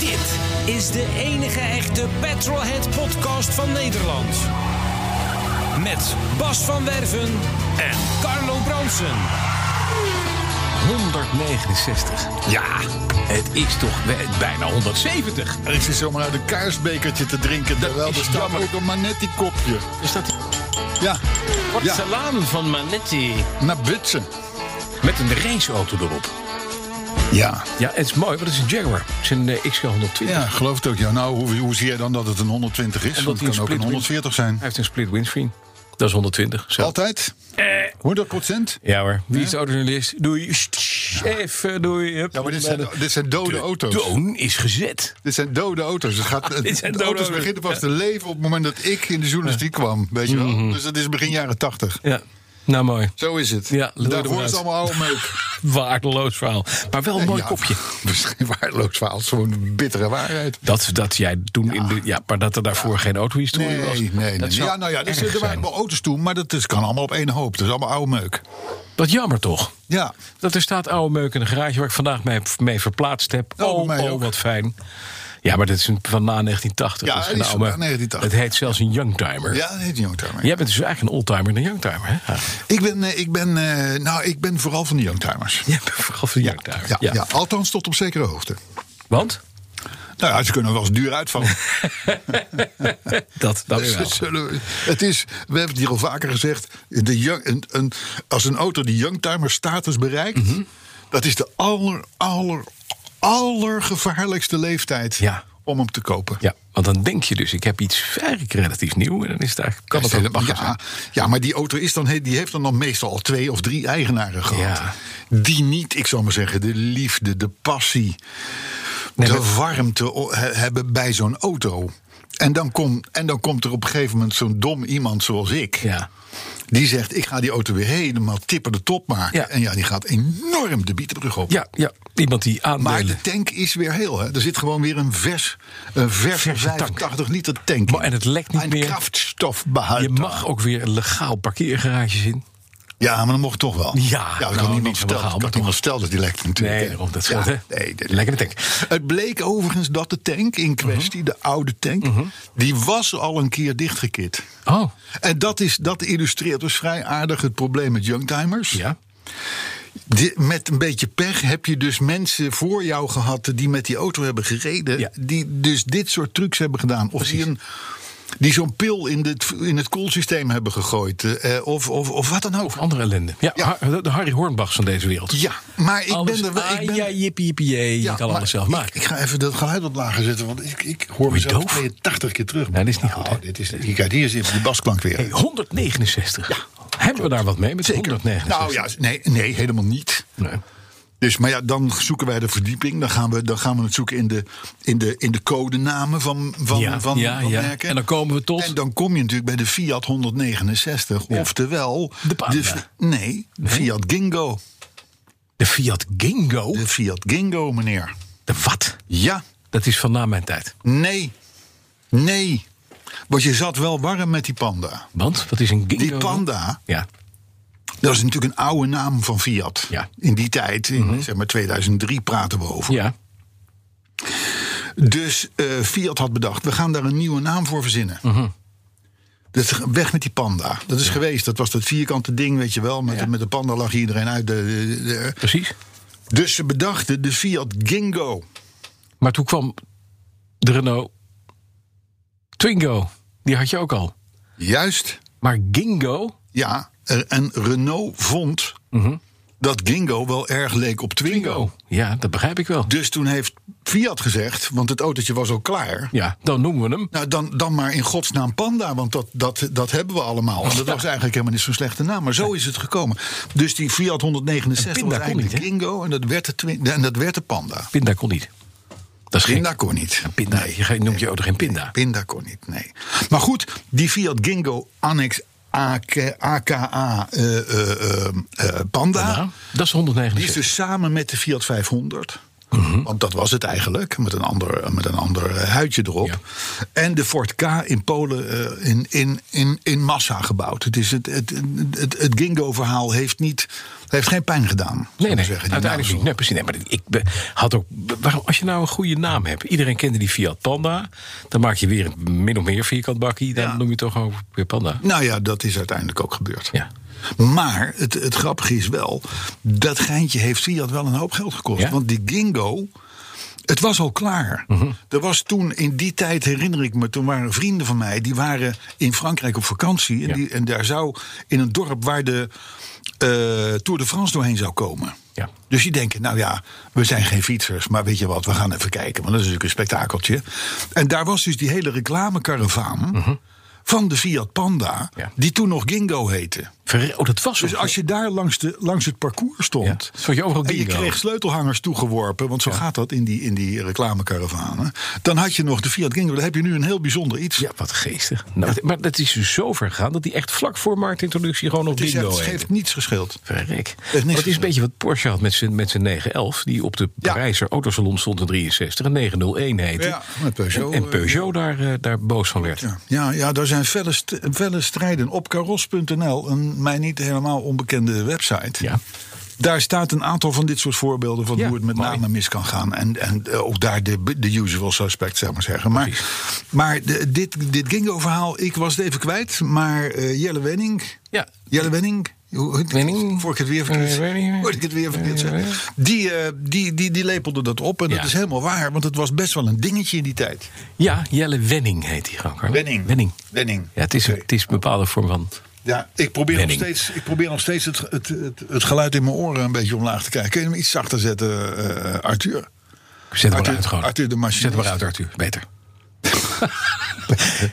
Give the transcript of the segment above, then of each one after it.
Dit is de enige echte Petrolhead podcast van Nederland. Met Bas van Werven en Carlo Bronsen. 169. Ja, het is toch we- bijna 170. En ik zit zomaar uit een kaarsbekertje te drinken. Terwijl is er staat jammer. ook een manetti kopje. Is dat die Ja, ja salade van Manetti? naar butsen. Met een raceauto erop. Ja. Ja, het is mooi, want het is een Jaguar. Het is een eh, XL120. ja, geloof het ook. Ja. Nou, hoe, hoe zie jij dan dat het een 120 is? Want hij het kan ook een split win- 140 Hij zijn. heeft een split windscreen. Dat is 120. Zo. Altijd? 100 procent? Eh. Ja hoor. Wie is de autojournalist? Doei. Sst, sst, Even doei. Hup. Ja, maar dit zijn, dit zijn dode auto's. Toon is gezet. Dit zijn dode auto's. Het gaat, Dit zijn de dode auto's auto's. beginnen pas te leven op het moment dat ik in de journalistiek kwam. Weet je wel? Mhm. Dus dat is begin jaren 80. Ja. Nou mooi. Zo is het. Ja, lul Daarvoor eruit. is het allemaal oude meuk. Waardeloos verhaal. Maar wel een mooi Ja, kopje. Misschien waardeloos verhaal. Het is gewoon een bittere waarheid. Dat, dat jij toen in de. Ja, maar dat er daarvoor geen autohistorie Nee, was. nee, nee. Dat zou Ja, nou ja, dus, erg er zijn. waren wel auto's toen, maar dat is, kan allemaal op één hoop. Dat is allemaal oude meuk. Wat jammer toch? Ja, Dat er staat oude meuk in de garage waar ik vandaag mee, mee verplaatst heb. Oh, Oh, bij oh, mij ook. wat fijn. Ja, maar dat is een, van na 1980. Ja, dat is die geen is oude van meuk. 1980. Het heet zelfs een youngtimer. ja dat heet niet Youngtimer. Jij bent dus eigenlijk een oldtimer en een youngtimer, hè? Ja. Ik, ben, eh, ik, ben, eh, nou, ik ben vooral van de Youngtimers. Jij bent vooral een youngtimer. Ja, ja. althans tot op zekere hoogte. Want? Nou ja, ze kunnen wel eens duur uitvallen. Dat, dat Dus wel. dat zullen we- het is, we hebben het hier al vaker gezegd. De young, een, een- als een auto die Youngtimer status bereikt, Mhm. dat is de aller, aller, allergevaarlijkste leeftijd Ja. om hem te kopen. Ja, want dan denk je dus, ik heb iets eigenlijk relatief nieuw. En dan is het eigenlijk, kan Dat het is ook helemaal- bagger zijn. ja, ja, maar die auto is dan, he- die heeft dan, dan meestal al twee of drie eigenaren gehad. Ja. Die niet, ik zal maar zeggen, de liefde, de passie, Nee, de maar- warmte o- he- hebben bij zo'n auto. En dan, kom, en dan komt er op een gegeven moment zo'n dom iemand zoals ik. Ja. Die zegt, ik ga die auto weer helemaal tippen de top maken. Ja. En ja, die gaat enorm de bietenbrug op. Ja, ja, iemand die Maar aandelen... de tank is weer heel. Hè. Er zit gewoon weer een vers, een verse Verse tank. 85 liter tank. in. Maar- en het lekt niet Een meer. kraftstofbehoud. Je mag ook weer legaal parkeergarages in. Ja, maar dan mocht het toch wel. Ja, dat nou, had niemand niet verteld. Ik illegaal, maar had niemand verteld dat die lekt natuurlijk. Nee, hè. daarom, dat Ja, scheelt, hè? nee, dat- Lekkere tank. Het bleek overigens dat de tank in kwestie, Mhm. de oude tank... die was al een keer dichtgekit. Oh, En dat, is, dat illustreert dus vrij aardig het probleem met youngtimers. ja. Di- met een beetje pech heb je dus mensen voor jou gehad... die met die auto hebben gereden... Ja. die dus dit soort trucs hebben gedaan. Of die, een, die zo'n pil in, dit, in het koelsysteem hebben gegooid. eh, of, of, of wat dan ook. Of andere ellende. Ja, Ja. Har- de Harry Hornbachs van deze wereld. Ja, maar ik Alles- ben er wel... Ik ah, ben, ja, jippie, jippie, jee, je kan maar alles zelf ik- maken. Ik, ga even dat geluid wat lager zetten, want ik, ik hoor Word je mezelf doof? 82 keer terug. Nee, dit is niet Nou, goed, hè? Dit is, hier, kijk, hier zit die basklank weer. Hey, 169. Hebben we daar wat mee met 169? Nou ja, nee, nee, helemaal niet. Nee. Dus, maar ja, dan zoeken wij de verdieping. Dan gaan we, dan gaan we het zoeken in de, in de, in de codenamen van, van, Ja, van, ja, van ja. merken. En dan komen we tot- En dan kom je natuurlijk bij de Fiat 169. Oftewel... De Panda. nee, Fiat Gingo. De Fiat Gingo? Nou. De De, Fiat Gingo, meneer. wat? Ja, Dat is van na mijn tijd. nee, nee. Want je zat wel warm met die Panda. Want? Wat is een Gingo? Die Panda, Ja. dat is natuurlijk een oude naam van Fiat. Ja. Mhm. In die tijd, in zeg maar 2003 praten we over. Ja. Dus eh, Fiat had bedacht, we gaan daar een nieuwe naam voor verzinnen. Mhm. Dat is weg met die panda. Dat is geweest. Dat was dat vierkante ding, weet je wel. Met, de, met de panda lag iedereen uit. De, de- de- Precies. Dus ze bedachten de Fiat Gingo. Maar toen kwam de Renault Twingo. Die had je ook al. Juist. Maar Gingo? Mhm. Ja. er- En Renault vond dat Gingo wel erg leek op Twingo. Ja, dat begrijp ik wel. Dus toen heeft Fiat gezegd, want het autootje was al klaar. Ja, dan noemen we hem. Nou, dan, dan maar in godsnaam Panda, want dat, dat, dat hebben we allemaal. En dat was eigenlijk helemaal niet zo'n slechte naam, maar zo is het gekomen. Dus die Fiat 169 En Pinda was kon eigenlijk niet, de Gingo en dat werd de, twin, en dat werd de Panda. Pinda kon niet. Dat is Pinda gek. kon niet. Pinda, Nee. je noemt je auto geen Pinda. Pinda kon niet, nee. Maar goed, die Fiat Gingo Annex AK, AKA eh, eh, eh, eh, Panda. Nou, dat is Die is 169. dus samen met de Fiat 500. Mhm. Want dat was het eigenlijk, met een ander, met een ander eh, huidje erop. Ja. En de Ford K in Polen eh, in, in, in, in massa gebouwd. Het, is het, het, het, het Gingo-verhaal heeft, niet, heeft geen pijn gedaan. zou dus- ik Nee, maar nee, zeggen, die uiteindelijk niet. naamzol. Nee, precies. Nee, maar ik be- had ook. Waarom, als je nou een goede naam hebt. Iedereen kende die Fiat Panda. Dan maak je weer een min of meer vierkant bakkie. Dan Ja. noem je toch ook weer Panda. Nou ja, dat is uiteindelijk ook gebeurd. Ja. Maar het, het grappige is wel, dat geintje heeft Fiat wel een hoop geld gekost. Ja? Mhm. Want die Gingo, het was al klaar. Er was toen, in die tijd herinner ik me, toen waren vrienden van mij... die waren in Frankrijk op vakantie. En, Ja. die, en daar zou, in een dorp waar de eh, Tour de France doorheen zou komen... Ja. Dus die denken, nou ja, we zijn geen fietsers, maar weet je wat, we gaan even kijken. Want dat is natuurlijk een spektakeltje. En daar was dus die hele reclamekaravaan van de Fiat Panda, Mhm. Ja. die toen nog Gingo heette. Verre- Oh, dat was Dus ook- als je daar langs, de, langs het parcours stond. Ja, stond je overal en je Gingo. kreeg sleutelhangers toegeworpen, want zo gaat dat in die, in die reclamekaravanen. Dan had je nog de Fiat Gingo. Dan heb je nu een heel bijzonder iets. Ja, wat geestig. Nou, het- Maar dat is dus zo ver gegaan dat die echt vlak voor marktintroductie gewoon nog het, is, bingo het heette. heeft niets gescheeld. Verrek. niks Maar het is een gezien. beetje wat Porsche had met zijn, met zijn 911... die op de Parijser autosalon stond in 63 en 901 heette. Ja, met Peugeot, En, en eh, Peugeot daar, eh, daar boos van werd. Ja, ja, ja daar zijn felle, st- felle strijden op karos.nl, een mij niet helemaal onbekende website. Ja. Daar staat een aantal van dit soort voorbeelden van Ja, hoe het met mooi. name mis kan gaan. En, en eh, ook daar de, de usual suspect, zou ik maar zeggen. Maar, maar de- dit, dit Gingo-verhaal, ik was het even kwijt. Maar eh, Jelle Wenning. Ja. Jelle Wenning. hoe- hoe- Wenning? Voor ik het weer Eh, verkeerd Wenning. Voor ik het weer verkeerd Eh, zeg. Die, eh, die, die, die lepelde dat op. En Ja. dat is helemaal waar, want het was best wel een dingetje in die tijd. Ja, Jelle Wenning heet die gewoon. Carlo. Wenning. Wenning. Wenning. Ja, het is, Oké. het is een bepaalde vorm van... Ja, ik probeer, nog Wenning. steeds, ik probeer nog steeds het, het, het, het geluid in mijn oren een beetje omlaag te krijgen. Kun je hem iets zachter zetten, eh, Arthur? Zet hem maar Arthur- uit gewoon. Arthur de machinist. Zet hem maar uit, Arthur. Beter.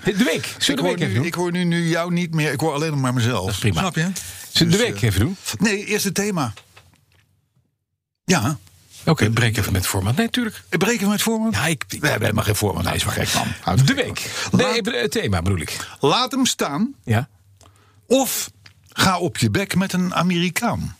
de week. Zullen we Ik de hoor, week even nu, doen? ik hoor nu, nu jou niet meer, ik hoor alleen nog maar mezelf. Dat is prima. Snap je? Zullen we de Dus, week eh, even doen? Nee, eerst het thema. Ja, Oké, breek even met het format. Nee, tuurlijk. breken we het format? Ja, ik, We hebben helemaal geen format. Nee, is wel gek, man. Houd het De gek, week. man. Nee, het thema bedoel ik. Laat hem staan Ja. of ga op je bek met een Amerikaan.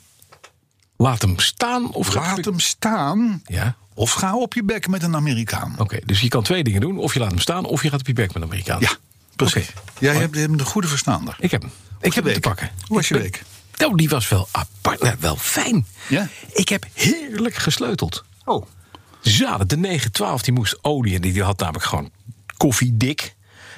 Laat hem staan of gaat Laat hem staan Ja. of ga op je bek met een Amerikaan. Oké, dus je kan twee dingen doen. Of je laat hem staan, of je gaat op je bek met een Amerikaan. Ja, precies. Oké. Jij hebt, hebt een goede verstaander. Ik heb hem. Ik heb hem te pakken. Hoe was Ik je ben- week? Nou, die was wel apart. nou, wel fijn. Ja? Ik heb heerlijk gesleuteld. Oh. Zaden, de 912, die moest olie. en Die die had namelijk gewoon koffiedik.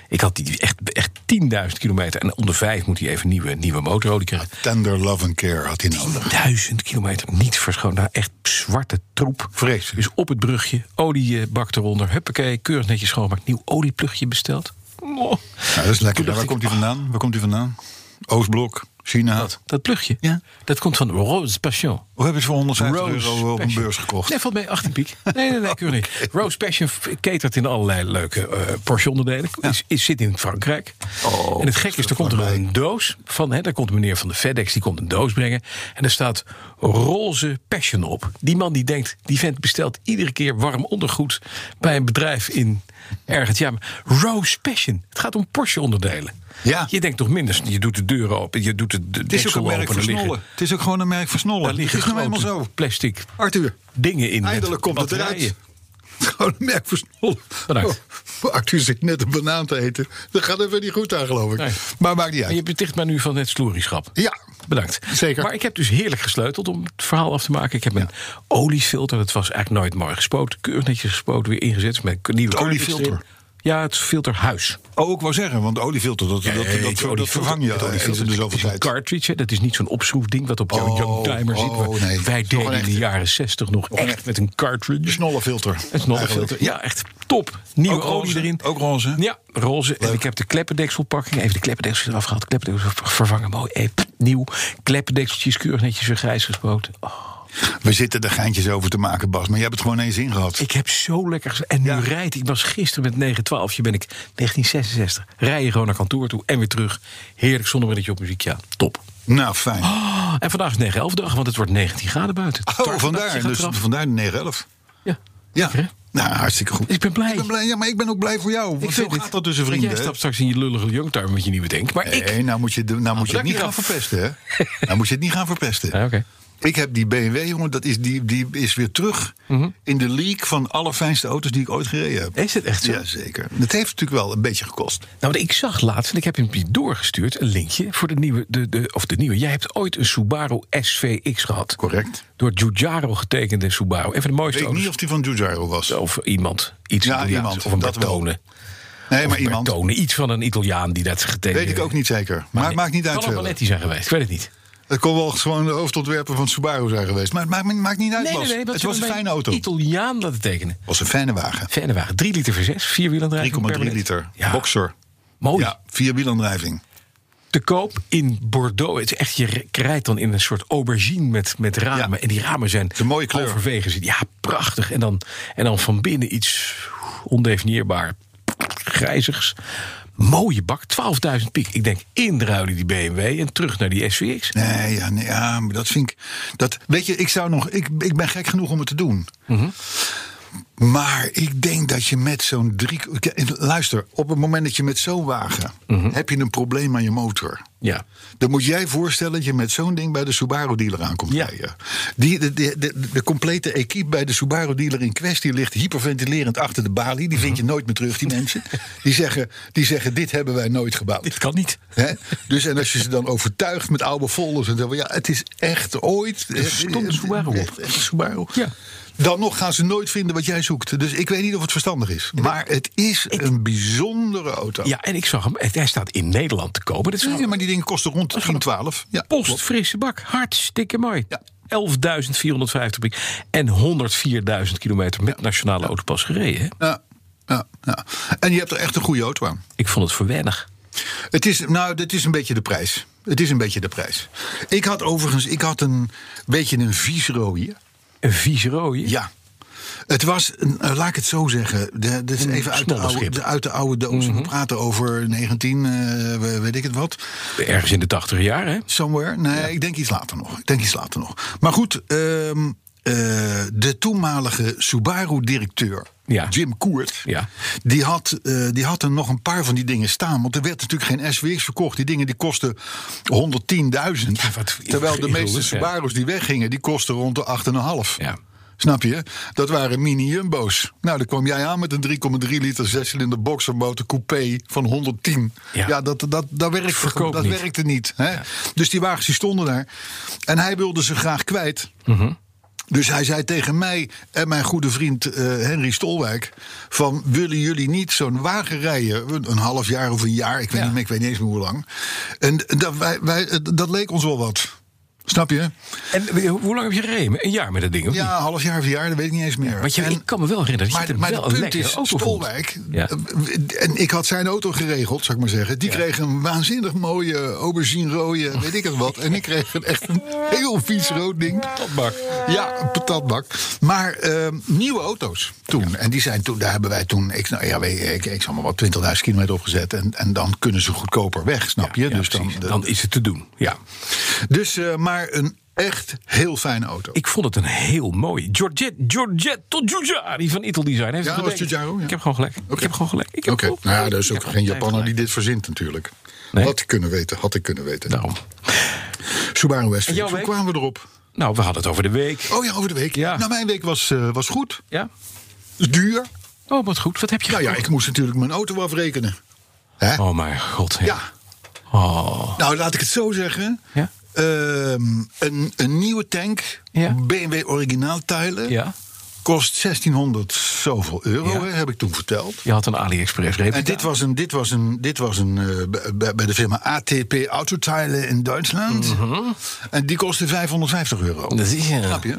Ik had die echt, echt 10.000 kilometer. En onder vijf moet hij even nieuwe, nieuwe motorolie krijgen. Tender love and care had hij nodig. duizend kilometer niet verschoond. Nou, echt zwarte troep. Vreselijk. Dus op het brugje, oliebak eronder. Huppakee, keurig netjes schoongemaakt. Nieuw olieplugje besteld. Mwah. Ja, dat is lekker. Toen Waar dacht komt ik, ah. hij vandaan? Waar komt hij vandaan? Oostblok, China. Dat, dat plugje, Ja. dat komt van Rose Passion. Hoe hebben ze voor 150 Rose euro op een Passion. beurs gekocht? Nee, valt mij 18 piek. Nee, nee, nee, keurig niet. Rose Passion f- catert in allerlei leuke eh Porsche-onderdelen. Is, is, zit in Frankrijk. Oh, en het gekke is, er komt er een doos van. Hè, daar komt een meneer van de FedEx, die komt een doos brengen. En daar staat Roze Passion op. Die man die denkt, die vent bestelt iedere keer warm ondergoed... bij een bedrijf in ergens. Ja, maar Rose Passion. Het gaat om Porsche-onderdelen. Ja. Je denkt toch minder, je doet de deuren open, je doet het Het is ook een merk open. er liggen- versnollen. Het is ook gewoon een merk daar versnollen. Het liggen is nou eenmaal grote zo. plastic Arthur, dingen in. met eindelijk komt het eruit. batterijen. Gewoon een merk versnollen. Bedankt. Oh, Arthur zit net een banaan te eten. Dat gaat even niet goed aan, geloof ik. Nee. Maar maakt niet En uit. je beticht mij nu van het sloerieschap. Ja. Bedankt. Zeker. Maar ik heb dus heerlijk gesleuteld om het verhaal af te maken. Ik heb een oliefilter, dat was eigenlijk nooit mooi gespoot. Keurig netjes gespoot, weer ingezet. Met nieuwe Het oliefilter? karretjes erin. Ja, het filter huis. Oh, ik wou zeggen, want de oliefilter, dat, dat, dat, dat, dat vervang je. dat eh, eens in de oliefilter, dat zoveel is een tijd. cartridge. hè. Dat is niet zo'n opschroefding wat op jouw Oh, Youngtimer zit. oh, maar nee. Nog Wij een deden in de echte. jaren 60 nog echt echte. met een cartridge. Snollenfilter. Een snorrelfilter. Eigenlijk. Ja, echt top. Nieuwe Ook olie roze, erin. ook roze. Ja, roze. En ik heb de kleppendekselpakking. Even de kleppendeksels eraf gehaald. Kleppendeksels ver- vervangen. Mooi. Eh, pff, nieuw. Kleppendekseltjes keurig netjes weer grijs gespoten. Oh, We zitten er geintjes over te maken, Bas. Maar je hebt het gewoon eens in gehad. ik heb zo lekker gez- En nu Ja. rijd ik. Ik was gisteren met 912. Ben ik 1966. Rij je gewoon naar kantoor toe en weer terug. Heerlijk zonnebrilletje op muziek. Ja, top. Nou, fijn. Ah, En vandaag is 9-11 dag, want het wordt 19 graden buiten. Oh, Tarwe nachtje vandaar. gaat Dus eraf. vandaar de 9-11. Ja. Ja. Lekker, hè? Nou, hartstikke goed. Ik ben blij. Ik ben blij. Ja, maar ik ben ook blij voor jou. Want zo vind gaat het. dat tussen Want vrienden. Jij hè? stapt straks in je lullige jongtuin wat je niet bedenkt. Maar ik... Nee, nou moet je, de- nou moet je dat het niet niet gaan af. verpesten, hè? nou moet je het niet gaan verpesten. Ja, oké. Ik heb die BMW, jongen, dat is, die, die is weer terug in de league van alle fijnste auto's die ik ooit gereden heb. Is het Mhm. echt zo? Jazeker. Het heeft natuurlijk wel een beetje gekost. Nou, want ik zag laatst, en ik heb hem je doorgestuurd, een linkje voor de nieuwe, de, de, of de nieuwe. Jij hebt ooit een Subaru SVX gehad. Correct. Door Giugiaro getekende Subaru. Even de Ik mooiste weet auto's. niet of die van Giugiaro was. Of iemand. Iets Ja, Italiaans. iemand, Of een dat wel. Bertone. nee, maar iemand. Bertone. Iets van een Italiaan die dat getekend Weet ik ook niet zeker. Maar, het maakt niet uit Kan ook verder. Maletti zijn geweest, ik weet het niet. Het kon wel gewoon de hoofdontwerper van Subaru zijn geweest. Maar het maakt, maakt niet uit, Bas. dat het ze was een hem bij fijne auto. Het Italiaan laten tekenen. was een fijne wagen. Fijne wagen. 3 liter voor 6, vierwielaandrijving. 3,3 permanent. liter. Ja, Boxer. Mooi. Ja, vierwielaandrijving. Te koop in Bordeaux. Het is echt, je rijdt dan in een soort aubergine met, met ramen. Ja. En die ramen zijn een mooie kleur. halverwege zit. Ja, prachtig. En dan, en dan van binnen iets ondefinieerbaar grijzigs. Mooie bak, 12.000 piek. Ik denk indruilen die BMW en terug naar die SVX. Nee, ja, nee, ja, maar dat vind ik. Dat, weet je, ik zou nog. Ik, ik ben gek genoeg om het te doen. Maar ik denk dat je met zo'n drie. Kijk, Luister, op het moment dat je met zo'n wagen. heb je een probleem aan je motor. Ja. Dan moet jij voorstellen dat je met zo'n ding bij de Subaru-dealer aankomt Ja. rijden. Die, de, de, de, de complete equipe bij de Subaru-dealer in kwestie ligt hyperventilerend achter de balie. Die vind je Mhm. nooit meer terug, die mensen. Die zeggen, die zeggen dit hebben wij nooit gebouwd. Dit kan niet. Hè? Dus en als je ze dan overtuigt met oude folders en zo. van, Ja, het is echt ooit. Er stond een Subaru op. Subaru. Ja. Dan nog gaan ze nooit vinden wat jij zoekt. Dus ik weet niet of het verstandig is. Maar het is een bijzondere auto. Ja, en ik zag hem. Hij staat in Nederland te kopen. Dat is Ja, maar die dingen kosten rond 10, 12. Ja. Postfrisse bak. Hartstikke mooi. Ja. 11.450 piek. En 104.000 kilometer met nationale autopas gereden. hè? Ja, ja, ja. En je hebt er echt een goede auto aan. Ik vond het voor weinig. Het is, nou, dit is een beetje de prijs. Het is een beetje de prijs. Ik had overigens ik had een beetje een vies rooie. Een vieze rode. Ja. Het was, een, eh, laat ik het zo zeggen. De, dit is even uit de, oude, snodderschip. de- uit de oude doos. Mhm. We praten over 19, eh, we- weet ik het wat. Ergens in de 80 jaar, hè? Somewhere. Nee, ik denk iets later nog. Ik denk iets later nog. Maar goed, ehm, eh, de toenmalige Subaru-directeur, Ja. Jim Koert, Ja. die, had, eh, die had er nog een paar van die dingen staan. Want er werd natuurlijk geen SWX verkocht. Die dingen die kosten 110.000. wat- terwijl de ik bedoel, meeste ja. Subaru's die weggingen, die kosten rond de 8,5. Ja. Snap je? Dat waren mini-jumbo's. Nou, dan kwam jij aan met een 3,3 liter zescilinder boxermotor coupé van 110. Ja. Ja, dat, dat, dat, werkte, Verkoop gewoon- dat niet. werkte niet. Hè? Dus die wagens die stonden daar. En hij wilde ze graag kwijt. Mhm. Dus hij zei tegen mij en mijn goede vriend eh, Henry Stolwijk... van willen jullie niet zo'n wagen rijden? Een, een half jaar of een jaar, ik weet, Ja. niet, meer, ik weet niet eens meer hoe lang. En dat, wij, wij, dat leek ons wel wat. Snap je? En eh, hoe lang heb je gereden? Een jaar met dat ding, of niet? Ja, een half jaar of een jaar, dat weet ik niet eens meer. Want je, En- ik kan me wel herinneren dat je maar het maar wel het een punt lekkere is, auto vond. Stolwijk, Ja. eh, en ik had zijn auto geregeld, zou ik maar zeggen. Die Ja. kreeg een waanzinnig mooie aubergine rode, weet ik het wat. En ik kreeg een echt een heel vies rood ding. Patatbak. Ja, een patatbak. Maar ehm, nieuwe auto's toen. En die zijn toen, daar hebben wij toen, ik, nou, ja, weet, ik, ik zal maar wat 20.000 kilometer opgezet. En, en dan kunnen ze goedkoper weg, snap je? Ja, dus dan, precies. dan is het te doen. Ja. dus eh, maar een echt heel fijne auto. Ik vond het een heel mooi. Giorgetto Giorgetto Giugiari van Ital Design. Heeft Ja, het was betekend. Giugiaro, ja. Ik heb gewoon gelijk. Ik heb gewoon gelijk. Ik heb Oké, gewoon nou ja, gelijk. er is Ik ook heb geen altijd Japaner die gelijk. dit verzint natuurlijk. Nee. Had ik kunnen weten, had ik kunnen weten. Daarom. Subaru En Westfield, jouw hoe week? kwamen we erop? Nou, we hadden het over de week. Oh ja, over de week. Ja. Nou, mijn week was, eh, was goed. Ja? Is duur. Oh, wat goed. Wat heb je Nou ja, gekocht? ik moest natuurlijk mijn auto afrekenen. Hè? Oh mijn god. Ja. Ja. Oh. Nou, laat ik het zo zeggen. Ja. Ehm, een, een nieuwe tank, Ja. BMW originaaltijlen, Ja. Kost 1600 zoveel euro, Ja. hè, heb ik toen verteld. Je had een AliExpress replica. En dit was een, dit was een, dit was een eh, bij- bij, bij de firma ATP Autoteilen in Duitsland. En die kostte 550 euro. Mhm. Dat is, ja. Snap je?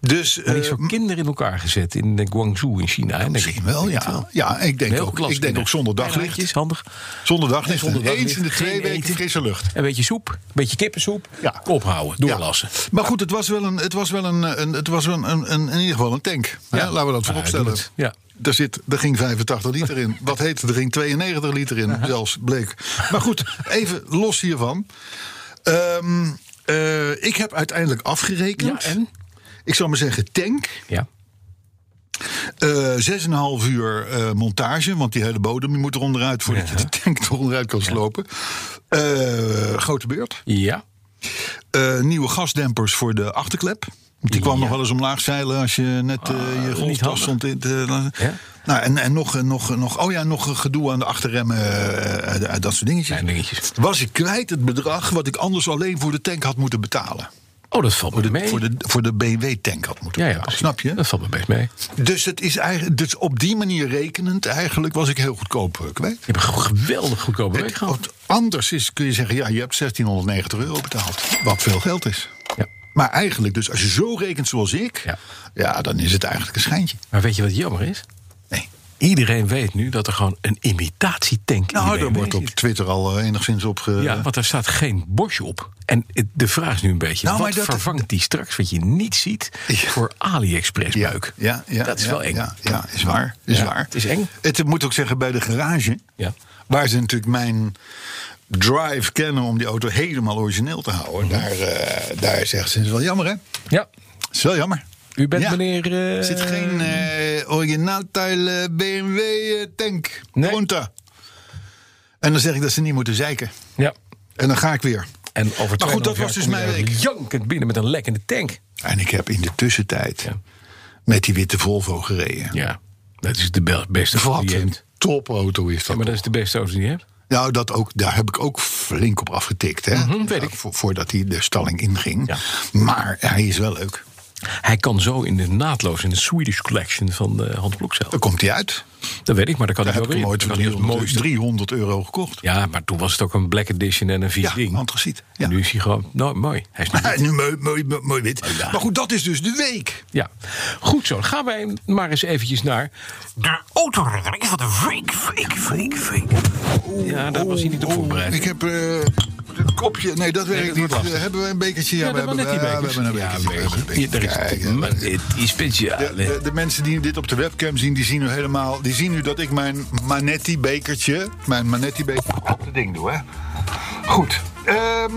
Dus Maar die eh, is voor kinderen in elkaar gezet in eh, Guangzhou in China. hè, denk ik. misschien wel, ja. Ja, ik denk, Heel ook, klas ik denk ook zonder Klein daglicht. handjes, handig. Zonder daglicht. Zonder daglicht. Eens in de twee Geen weken eten. frisse lucht. Een beetje soep, een beetje kippensoep. Ja. Ophouden, doorlassen. Ja. Maar goed, het was wel een, het was wel een, een- het was wel een, een- in ieder geval een tank. Hè, Laten we dat vooropstellen. doe het. Ja. Daar, zit, daar ging 85 liter in. Wat heette, er ging 92 liter in, zelfs bleek. Maar goed, even los hiervan. Ehm, eh, ik heb uiteindelijk afgerekend. Ja, en? Ik zal maar zeggen, tank. Ja. Eh, Zes en een half uur eh, montage, want die hele bodem die moet er onderuit voordat je de tank eronderuit kan slopen. Eh, grote beurt. Ja. Eh, nieuwe gasdempers voor de achterklep. Want die kwam nog wel eens omlaag zeilen als je net eh, je golftas Ah, handig. stond in te laten. Ja. Nou, en, en nog, eh, nog, nog, oh ja, nog gedoe aan de achterremmen, eh, eh, dat soort dingetjes. Kleine dingetjes. Was ik kwijt het bedrag wat ik anders alleen voor de tank had moeten betalen. Oh, dat valt me mee. Voor de, voor de BMW-tank had moeten ja, ja, betalen. precies. Snap je? Dat valt me best mee. Dus, het is eigenlijk, dus op die manier rekenend, eigenlijk was ik heel goedkoop eh, kwijt. Je hebt een geweldig goedkope week gehad. Want Anders is, kun je zeggen, ja, je hebt 1690 euro betaald. Wat veel geld is. Ja. Maar eigenlijk, dus als je zo rekent zoals ik, ja. Ja. dan is het eigenlijk een schijntje. Maar weet je wat jammer is? Nee. Iedereen weet nu dat er gewoon een imitatietank in Nou, de daar BMW wordt op zit. Twitter al eh, enigszins op ge... Ja, want daar staat geen Bosch op. En het- de vraag is nu een beetje, Nou, maar wat dat- vervangt die straks wat je niet ziet voor AliExpress ja, buik? ja, ja, dat is ja, wel eng. Ja, ja, is waar. Is Ja, waar. het is eng. Het moet ook zeggen, bij de garage, Ja. waar ze natuurlijk mijn drive kennen om die auto helemaal origineel te houden, Mhm. daar, eh, daar zeggen ze, het is wel jammer hè? Ja, Het is wel jammer. u bent Ja. meneer... eh, Er zit geen Ehm. eh originaaltuil eh, BMW eh, tank. Nee. Groente. En dan zeg ik dat ze niet moeten zeiken. Ja. En dan ga ik weer. En over Maar goed, dat 2,5 was dus jaar kom je mijn daar week. Jankend binnen met een lekkende tank. En ik heb in de tussentijd Ja. met die witte Volvo gereden. Ja, dat is de be- beste auto Wat die je een hebt. topauto is Ja, dat. maar dat is de beste auto die je hebt. Nou, dat ook, daar heb ik ook flink op afgetikt. Hè? Mhm, weet ik. Ja, vo- voordat hij de stalling inging. Ja. Maar hij is wel leuk. Hij kan zo in de naadloos in de Swedish Collection van eh Hans Blok zelf. Daar komt hij uit. Dat weet ik, maar dat kan Daar ik heb wel ik hem weer in. ooit voor Dan kan hij als 300, mooiste- 300 euro gekocht. Ja, maar toen was het ook een black edition en een vies Ja, ding. antraciet. Ja. En nu is hij gewoon nou, mooi. Hij is nu En nu mooi, mooi, mooi wit. Maar goed, dat is dus de week. Ja, goed zo. Dan gaan wij maar eens eventjes naar de autoredding van de week, week, week, week. Ja, daar was hij niet op voorbereid. Ik heb eh, een kopje. Nee, dat werkt dat niet. wordt lastig. Hebben we een bekertje? Ja, ja, we, dat waren hebben, net die ja, we bekers. hebben een bekertje. We hebben een bekertje. Ja, daar is Kijk, het. hè. Maar dit is de, de, speciaal. de mensen die dit op de webcam zien, die zien nu helemaal. Die zien nu dat ik mijn Manetti bekertje. Mijn Manetti bekertje op het ding doe, hè? Goed. Ehm,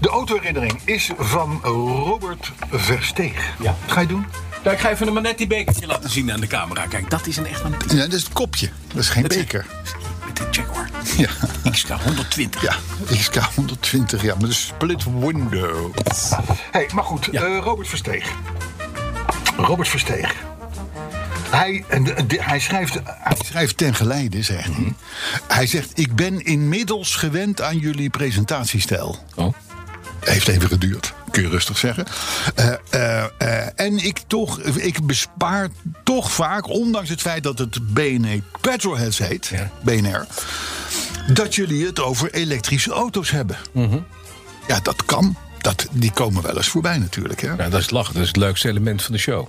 de autoherinnering is van Robert Versteeg. Ja. Ga je doen? Nou, ik ga even een Manetti bekertje laten zien aan de camera. Kijk, dat is een echt Manetti. Ja, dat is het kopje. Dat is geen beker. Met de Jaguar. Ja. XK 120. Ja, XK120, ja, met een split window. hey, maar goed, Ja. eh, Robert Versteeg. Robert Versteeg. Hij, en de- de- hij, schrijft, Mhm. hij schrijft ten geleide, zegt hij. Hij zegt, ik ben inmiddels gewend aan jullie presentatiestijl. Oh. Heeft even geduurd, kun je rustig zeggen. Eh, eh, eh, en ik, toch, ik bespaar toch vaak, ondanks het feit dat het BNE Petrolheads heet, Ja. BNR, dat jullie het over elektrische auto's hebben. Ja, dat kan. Dat, die komen wel eens voorbij natuurlijk. Hè? Nou, dat is lachen. Dat is het leukste element van de show.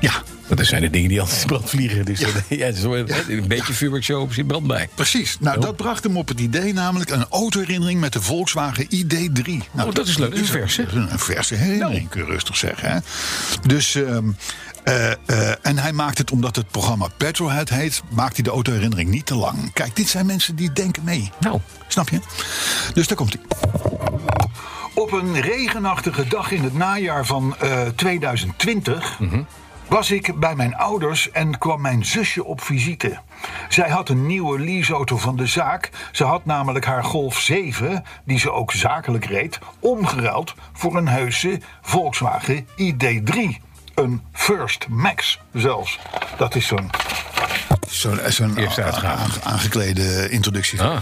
Ja, Dat zijn de dingen die altijd in brand vliegen. Dus dat- ja. het is wel- een beetje vuurwerkshow op zit brand bij. precies. Nou, Oh. dat bracht hem op het idee namelijk een autoherinnering met de Volkswagen ID3. Nou, Oh, dat is leuk. Dat is een verse. Nou. Een, een verse herinnering, kun je rustig zeggen. Hè? Dus, ehm, eh, eh, en hij maakt het, omdat het programma Petrolhead heet... maakt hij de autoherinnering niet te lang. Kijk, dit zijn mensen die denken mee. Nou, Snap je? Dus daar komt hij. Op een regenachtige dag in het najaar van eh, 2020 was ik bij mijn ouders en kwam mijn zusje op visite. Zij had een nieuwe leaseauto van de zaak. Ze had namelijk haar Golf 7, die ze ook zakelijk reed, omgeruild voor een heuse Volkswagen ID3. Een First Max zelfs. Dat is zo'n. Zo'n zo'n Eerste uitgave. aange- aangeklede introductie. ah,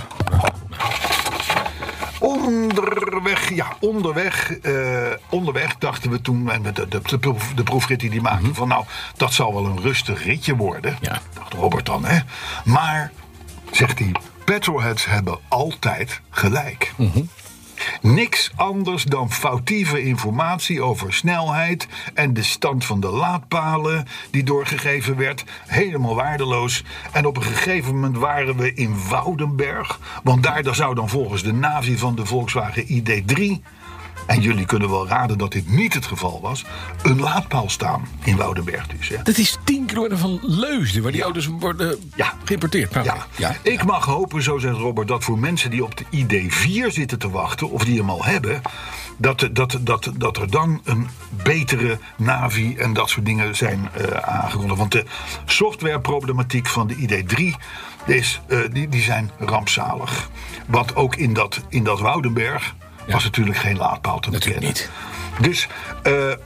Om onderweg, ja, onderweg, eh, onderweg dachten we toen, en met de, de, de, proef- de proefrit die die maakte, van nou, dat zal wel een rustig ritje worden. Ja. Dacht Robert dan, hè. Maar, zegt hij, petrolheads hebben altijd gelijk. Niks anders dan foutieve informatie over snelheid en de stand van de laadpalen die doorgegeven werd. Helemaal waardeloos. En op een gegeven moment waren we in Woudenberg. Want daar daar zou dan volgens de navi van de Volkswagen ID3. En jullie kunnen wel raden dat dit niet het geval was. Een laadpaal staan in Woudenberg dus. Hè. Dat is 10 kilometer van Leusden, waar die auto's worden Ja. geïmporteerd. Nou, Ja. ja. ik mag hopen, zo zegt Robert, dat voor mensen die op de ID4 zitten te wachten, of die hem al hebben, dat, dat, dat, dat er dan een betere Navi en dat soort dingen zijn eh aangekondigd. Want de softwareproblematiek van de ID3 is, eh, die, die zijn rampzalig. Want ook in dat, in dat Woudenberg was natuurlijk geen laadpaal te Natuurlijk bekennen. Dus eh, eh,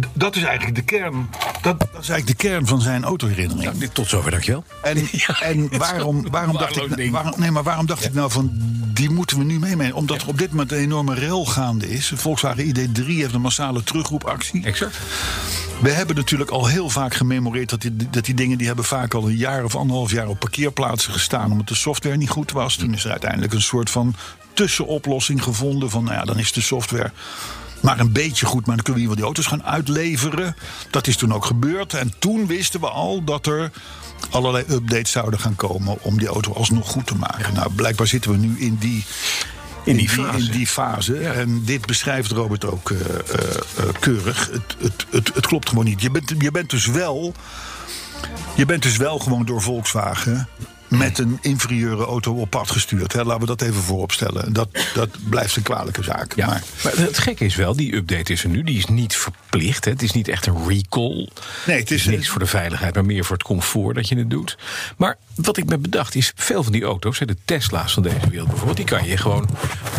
d- dat is eigenlijk de kern. Dat, dat is eigenlijk de kern van zijn autoherinnering. Nou, dit- tot zover, dankjewel. En, Ja, het en is waarom, een waarom dacht ik, waardeloos nou- ding. waarom, nee, maar waarom dacht ik nou van die moeten we nu meenemen? Omdat er op dit moment een enorme rel gaande is. Volkswagen ID3 heeft een massale terugroepactie. Exact. We hebben natuurlijk al heel vaak gememoreerd dat die, dat die dingen die hebben vaak al een jaar of anderhalf jaar op parkeerplaatsen gestaan omdat de software niet goed was. Toen is er uiteindelijk een soort van tussenoplossing gevonden van nou ja, dan is de software maar een beetje goed, maar dan kunnen we hier wel die auto's gaan uitleveren. Dat is toen ook gebeurd en toen wisten we al dat er allerlei updates zouden gaan komen om die auto alsnog goed te maken. Nou, blijkbaar zitten we nu in die in die, fase. In die fase. En dit beschrijft Robert ook eh, eh, eh, keurig. Het, het, het, het klopt gewoon niet. Je bent, je bent dus wel. Je bent dus wel gewoon door Volkswagen. Met een inferieure auto op pad gestuurd. Hè? Laten we dat even vooropstellen. Dat, dat blijft een kwalijke zaak. Ja. Maar, Maar, het gekke is wel, die update is er nu. Die is niet verplicht. Hè. Het is niet echt een recall. Nee, het is- niks voor de veiligheid, maar meer voor het comfort dat je het doet. Maar wat ik me bedacht is, veel van die auto's, hè, de Tesla's van deze wereld bijvoorbeeld, die kan je gewoon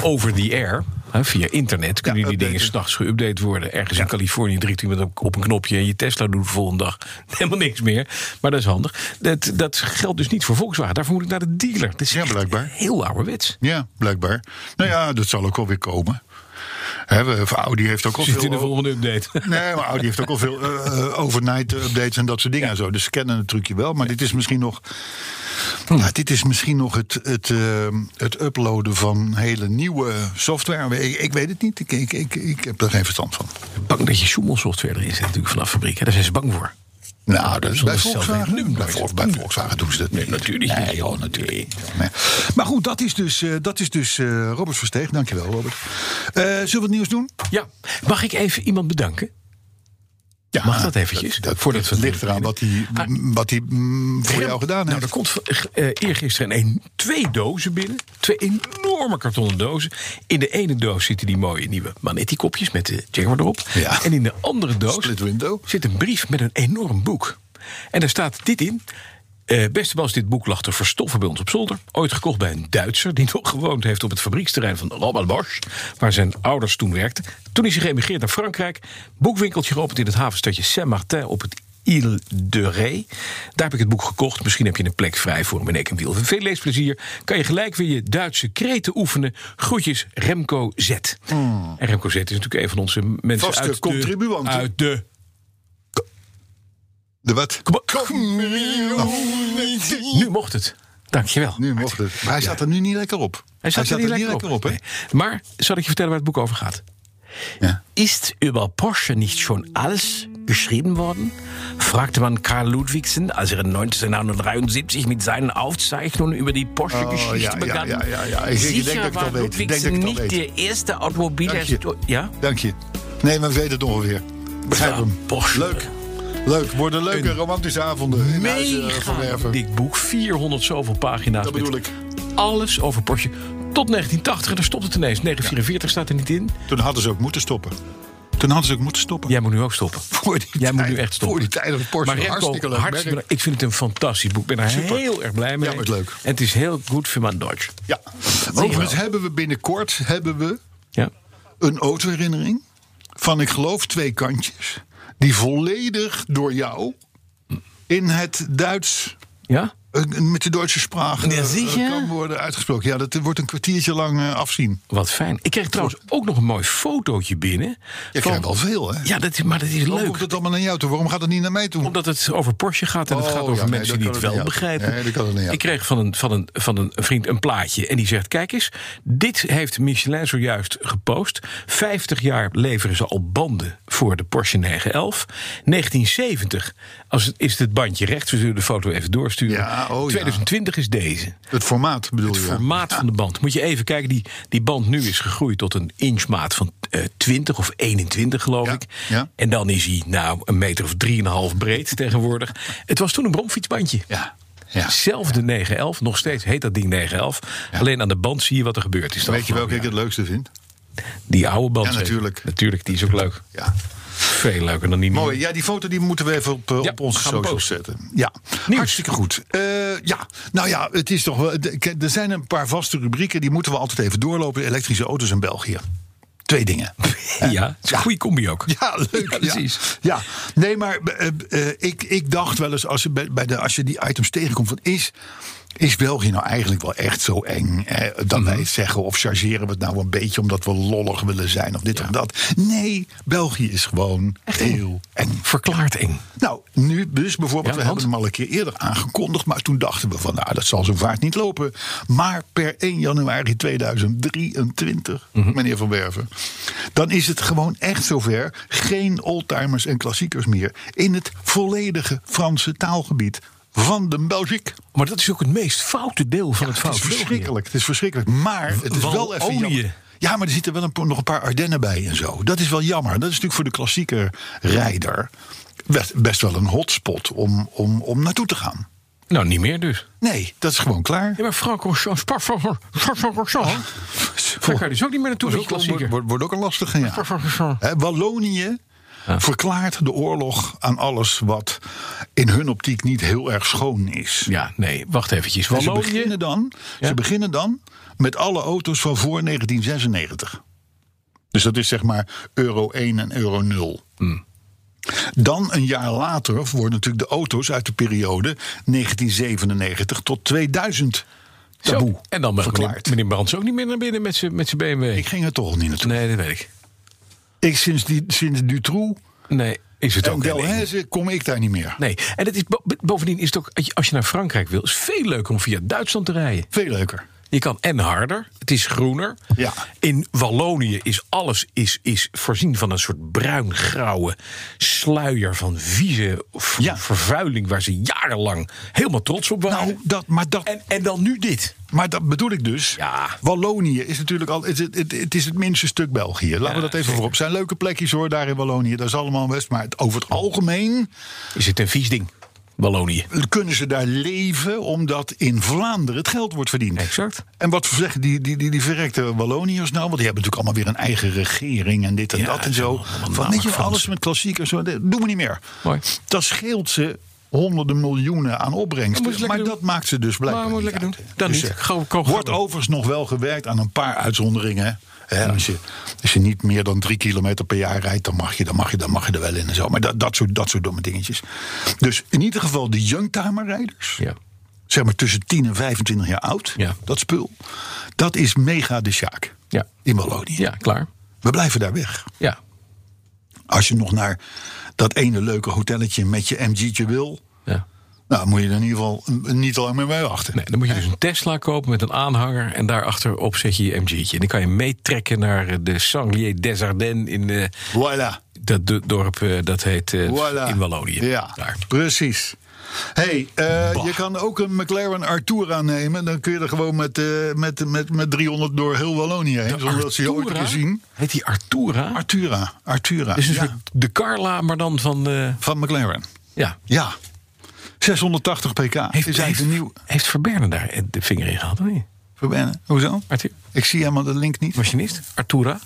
over the air. hè, Via internet kunnen Ja, die dingen updaten. s'nachts geüpdate worden. Ergens in Californië drie met op- op een knopje. En je Tesla doet de volgende dag helemaal niks meer. Maar dat is handig. Dat, dat geldt dus niet voor Volkswagen. Daarvoor moet ik naar de dealer. Dat is Ja, echt blijkbaar. heel ouderwets. ja, blijkbaar. Nou ja, dat zal ook wel weer komen. Hè, we- Audi heeft ook al Zit in de veel- volgende update. Nee, maar Audi heeft ook al veel eh, eh, overnight updates en dat soort dingen. en Zo. Dus ze kennen het trucje wel. Maar dit is misschien nog, Hm. ja, dit is misschien nog het, het, eh, het uploaden van hele nieuwe software. Ik, ik weet het niet. Ik, ik, ik, ik heb er geen verstand van. bang dat je soemelsoftware erin zit natuurlijk vanaf fabriek. Hè? Daar zijn ze bang voor. Nou, dat is bij dat is Volkswagen. zelf Nu, nooit. bij, Vol- bij Volkswagen doen ze dat niet. natuurlijk niet. Nee, joh, natuurlijk. niet. Nee. Maar goed, dat is dus, eh, dat is dus eh, Robert Versteeg. Dankjewel, Robert. Eh, zullen we het nieuws doen? Ja, mag ik even iemand bedanken? Ja, Mag dat eventjes? Dat, dat, Voordat we- ligt eraan wat hij, wat hij mm, voor jou gedaan Nou, heeft. er komt v- eh, eergisteren een, twee dozen binnen. Twee enorme kartonnen dozen. In de ene doos zitten die mooie nieuwe Manetti-kopjes met de Jaguar erop. Ja. En in de andere doos Split window. zit een brief met een enorm boek. En daar staat dit in. Eh, beste Bas, dit boek lag te verstoffen bij ons op zolder. Ooit gekocht bij een Duitser die nog gewoond heeft op het fabrieksterrein van Robert Bosch, waar zijn ouders toen werkten. Toen is hij geëmigreerd naar Frankrijk. Boekwinkeltje geopend in het havenstadje Saint-Martin op het Ile de Ré. Daar heb ik het boek gekocht. Misschien heb je een plek vrij voor hem in Ekenwiel. Veel leesplezier. Kan je gelijk weer je Duitse kreten oefenen. Groetjes Remco Z. En Remco Z is natuurlijk een van onze mensen Hmm. Vaste uit de, contribuanten. uit de De wat? Nu mocht het. Dankjewel. Nu mocht het. Maar hij staat er nu niet lekker op. Hij staat er niet lekker, op. hè? Nee. Maar zal ik je vertellen waar het boek over gaat? Ja. Ist über Porsche nicht schon alles geschrieben worden? fragte man Karl Ludwigsen, als er in 1973 mit seinen Aufzeichnungen über die Oh, ja, Porsche-Geschichte ja, begann. ja, ja, ja. Ik- ik denk dat ik Sicher het al war weet. Ik denk dat Ludwigsen ik het al nicht weet. der erste Automobilhersteller. Dank Ja? Dank je. Nee, maar we weten het ongeveer. Begrijp Ja, hem. Porsche. Leuk. Leuk. Worden leuke Een romantische avonden. in huizen Mega verwerven. dik boek, 400 zoveel pagina's. Dat met bedoel ik. Alles over Porsche. Tot 1980, en daar stopt het ineens. 1944 staat er niet in. Toen hadden ze ook moeten stoppen. Toen hadden ze ook moeten stoppen. Jij moet nu ook stoppen. Voor die Jij moet tijd- nu echt stoppen. voor die tijd was Porsche maar Remco, hartstikke leuk hartstikke merk. bedankt. Ik vind het een fantastisch boek. Ik ben er Super. heel erg blij mee. Ja, maar het is leuk. En het is heel goed voor mijn Duits. Ja. Zie je Overigens wel. hebben we binnenkort hebben we Ja. een autoherinnering van, ik geloof, twee kantjes. Die volledig door jou in het Duits Ja? eh, met de Duitse spraak eh, Ja, zie je? kan worden uitgesproken. Ja, dat wordt een kwartiertje lang eh, afzien. Wat fijn. Ik kreeg trouwens ook nog een mooi fotootje binnen. Je van- krijgt wel veel, hè? Ja, dat is, maar dat is Waarom leuk. komt het allemaal naar jou toe? Waarom gaat het niet naar mij toe? Omdat het over Porsche gaat en het Oh, gaat over ja, nee, mensen dat die kan het het wel niet, ja. begrijpen. Nee, dat kan het niet, ja. Ik kreeg van een, van, een, van een vriend een plaatje en die zegt: Kijk eens, dit heeft Michelin zojuist gepost. 50 jaar leveren ze al banden voor de Porsche 911. 1970 als het, is het bandje rechts. We zullen de foto even doorsturen. Ja, oh ja. 2020 is deze. Het formaat bedoel Het je? formaat van de band. Moet je even kijken, die, die band nu is gegroeid tot een inchmaat van eh 20 of 21, geloof Ja, ik. ja. En dan is hij nou een meter of 3,5 breed tegenwoordig. Het was toen een bromfietsbandje. Ja. ja. Zelfde 911, nog steeds heet dat ding 911. Alleen aan de band zie je wat er gebeurd is. Weet je welke Ja, ik het leukste vind? Die oude band. Ja, zeker. natuurlijk. Natuurlijk, die is ook leuk. Ja. Veel leuker dan die nieuwe. Mooi. Ja, die foto die moeten we even op, eh, Ja, op onze gaan we socials posten. zetten. Ja, hartstikke goed. Eh, ja, nou ja, het is toch wel. de- k- Er zijn een paar vaste rubrieken die moeten we altijd even doorlopen. Elektrische auto's in België. Twee dingen. Ja, het is een goede combi ook. Ja, leuk. Ja, precies. Ja, nee, maar eh, eh, ik, ik dacht wel eens, als je, bij bij de, als je die items tegenkomt, van is, is België nou eigenlijk wel echt zo eng eh, dat Mhm. wij het zeggen? Of chargeren we het nou een beetje omdat we lollig willen zijn of dit of dat? Nee, België is gewoon heel eng. Verklaard eng. Nou, nu dus bijvoorbeeld, Ja, we want? hebben hem al een keer eerder aangekondigd, maar toen dachten we van, nou, dat zal zo vaart niet lopen. Maar per 1 januari 2023, Mhm. meneer Van Werven, dan is het gewoon echt zover. Geen oldtimers en klassiekers meer in het volledige Franse taalgebied van de Belgique. Maar dat is ook het meest foute deel van het Het foute is België. verschrikkelijk, het is verschrikkelijk. Maar het is wel even Wallonië. jammer. Ja, maar er zitten wel een, po- nog een paar Ardennen bij en zo. Dat is wel jammer. Dat is natuurlijk voor de klassieke rijder best, best wel een hotspot om, om, om naartoe te gaan. Nou, niet meer dus. Nee, dat is gewoon klaar. Ja, maar Francorchamps, Parfum, Francorchamps. Daar kan je dus ook niet meer naartoe, die klassieker. wordt, wordt ook een lastige. Ja. Hè, Wallonië verklaart de oorlog aan alles wat in hun optiek niet heel erg schoon is. Ja, nee, wacht eventjes. En Ze Wallonië, beginnen, dan, ze beginnen dan met alle auto's van voor 1996. Dus dat is zeg maar euro 1 en euro 0. Hmm. Dan een jaar later worden natuurlijk de auto's uit de periode 1997 tot 2000 taboe Zo. En dan mag meneer, verklaard. meneer Brands ook niet meer naar binnen met zijn met zijn BMW. Ik ging er toch niet naartoe. nee, dat weet ik. Ik, sinds, die, sinds Dutroux Nee, is het en ook niet. Delhaize kom ik daar niet meer. Nee, en het is, bo- bovendien is het ook, als je naar Frankrijk wil, is het veel leuker om via Duitsland te rijden. Veel leuker. Je kan en harder, het is groener. Ja. In Wallonië is alles is, is voorzien van een soort bruin-grauwe sluier van vieze v- Ja. vervuiling waar ze jarenlang helemaal trots op waren. Nou, dat, maar dat, en, en dan nu dit. Maar dat bedoel ik dus. Ja. Wallonië is natuurlijk al. Het, het, het, het is het minste stuk België. Laten we dat even zeker. voorop. Het zijn leuke plekjes hoor, daar in Wallonië. Dat is allemaal best. Maar het- over het algemeen Is het een vies ding, Wallonië? kunnen ze daar leven. omdat in Vlaanderen het geld wordt verdiend. Exact. En wat zeggen die, die, die, die verrekte Walloniërs nou? Want die hebben natuurlijk allemaal weer een eigen regering. en dit en Ja, dat en het is zo. allemaal Van, weet je, Frans. alles met klassiek en zo. dat doen we niet meer. Mooi. Dat scheelt ze honderden miljoenen aan opbrengst. Dat moet je Maar lekker dat maakt ze dus blijkbaar Maar moet je niet lekker uit. doen. Dan niet. eh, Gewoon- gewoon wordt gewoon. overigens nog wel gewerkt aan een paar uitzonderingen. Hè, als, je, als je niet meer dan drie kilometer per jaar rijdt, dan mag je, dan mag je, dan mag je er wel in en zo. Maar dat, dat, soort, dat soort domme dingetjes. Dus in ieder geval de youngtimer-rijders, Ja. zeg maar tussen 10 en 25 jaar oud, Ja. dat spul, dat is mega de Sjaak Ja. in Wallonië. Ja, klaar. We blijven daar weg. Ja. Als je nog naar dat ene leuke hotelletje met je MG'tje wil, ja. nou moet je er in ieder geval eh, niet te lang meer bij wachten. Nee, dan moet je dus een Tesla kopen met een aanhanger. En daarachter op zet je je MG'tje. En dan kan je meetrekken naar eh, de Sanglier des Ardennes in eh, Voilà. dat do- dorp eh, dat heet eh, Voilà. in Wallonië. Ja, Daar. precies. hey, eh, je kan ook een McLaren Artura nemen. Dan kun je er gewoon met, eh, met, met, met 300 door heel Wallonië heen. Zonder dat ze je ooit Artura? gezien. zien. Heet die Artura? Artura, Artura. dus een ja, soort de Carla, maar dan van... eh, Van McLaren. ja. Ja. 680 pk. Heeft, is heeft, eigenlijk een nieuw. heeft Verberne daar eh, de vinger in gehad? Of niet? Verbennen. Hoezo? Artu- Ik zie helemaal de link niet. Machinist? Artura?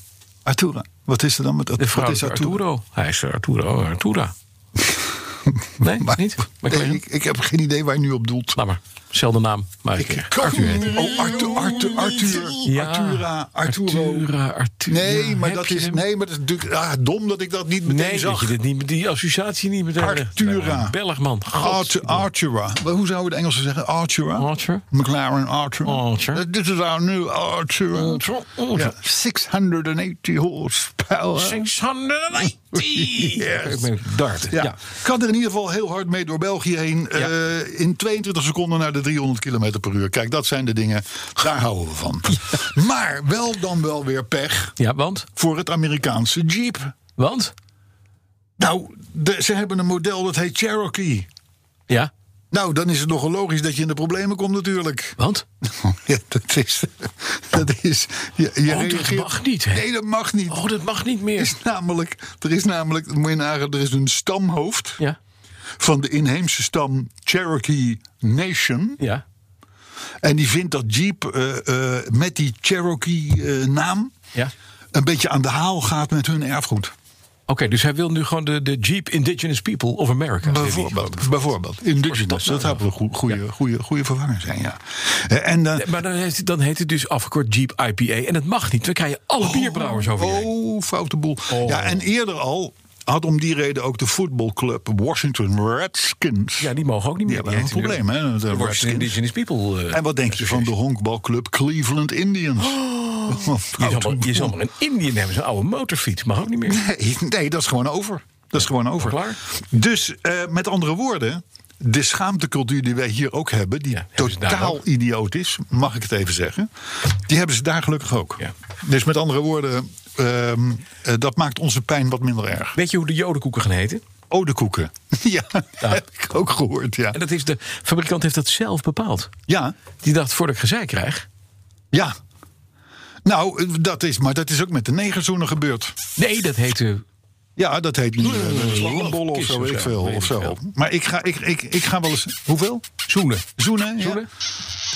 Artura. Wat is er dan met De Artura? vrouw Wat is is Arturo. Hij is eh, Arturo. Artura. nee, Maar- niet? Nee, McLaren? ik, ik heb geen idee waar je nu op doelt. Laat maar. Zelfde naam, maar ik. eh, Arthur heet hij. Oh, Arthur, Arthur, Arthur, Ja. Artura, Arturo. Artura, Artura. Nee, maar Heb dat je is, hem? nee, maar dat is natuurlijk ah, dom dat ik dat niet meteen Nee, dat zag. je dit niet, die associatie niet meteen... Artura. Belg, man. Artu- Artura. Maar Hoe zouden de Engelsen zeggen? Artura? Arthur. McLaren Artura. Arthur. Eh, Dit is our new Artura. Arthur, Ja, Arthur. 680 horsepower. 690! Yes. Ik ben darten. Ja. ja. Kan er in ieder geval heel hard mee door België heen. Ja. eh, in 22 seconden naar de 300 km per uur. Kijk, dat zijn de dingen. Daar houden we van. Maar wel dan wel weer pech Ja, want? voor het Amerikaanse Jeep. Want? Nou, de- ze hebben een model dat heet Cherokee. Ja, Nou, dan is het nogal logisch dat je in de problemen komt natuurlijk. want? Ja, dat is... Dat is je, je Oh, dat reageert- mag niet, hè? Nee, dat mag niet. Oh, dat mag niet Er meer. is namelijk, er is namelijk, dat moet je nagaan, er is een stamhoofd Ja, van de inheemse stam Cherokee Nation. ja, En die vindt dat Jeep eh, eh, met die Cherokee-naam ja. een beetje aan de haal gaat met hun erfgoed. Oké, dus hij wil nu gewoon de, de Jeep Indigenous People of America. Bijvoorbeeld. bijvoorbeeld. Indigenous. Dat zou wel een goede, goede, goede vervanger zijn, ja. Eh, En dan, Maar dan heet, dan heet het dus afgekort Jeep IPA. En dat mag niet. Dan krijg je alle bierbrouwers over je heen. Oh, foute boel. Ja, en eerder al had om die reden ook de voetbalclub Washington Redskins. Ja, die mogen ook niet Die meer. hebben een probleem, hè, met de De Redskins. Indigenous People. eh, En wat denk je van de honkbalclub Cleveland Indians? Oh, je, zal foute maar, je zal boel. maar een Indian hebben, zo'n oude motorfiets. Mag ook niet meer. Nee, nee, dat is gewoon over. Dat is gewoon over. Klaar. Dus eh, met andere woorden, de schaamtecultuur die wij hier ook hebben, die Ja, hebben ze daar totaal ook. idioot is, mag ik het even zeggen, die hebben ze daar gelukkig ook. Ja. Dus met andere woorden, ehm, eh, dat maakt onze pijn wat minder erg. Weet je hoe de jodenkoeken gaan heten? Odekoeken. Ja, heb ik ook gehoord. Ja, En dat is de fabrikant heeft dat zelf bepaald. ja. Die dacht, voordat ik gezeik krijg... ja. Nou, dat is, maar dat is ook met de negerzoenen gebeurd. Nee, dat eh, heette... Ja, dat heet nu eh, slangenbollen of Kies zo, of weet ik zo, veel. weet Of ik zo. veel. Maar ik ga, ik, ik, ik ga wel eens. Hoeveel? Zoenen. Zoenen? Ja. Zoenen?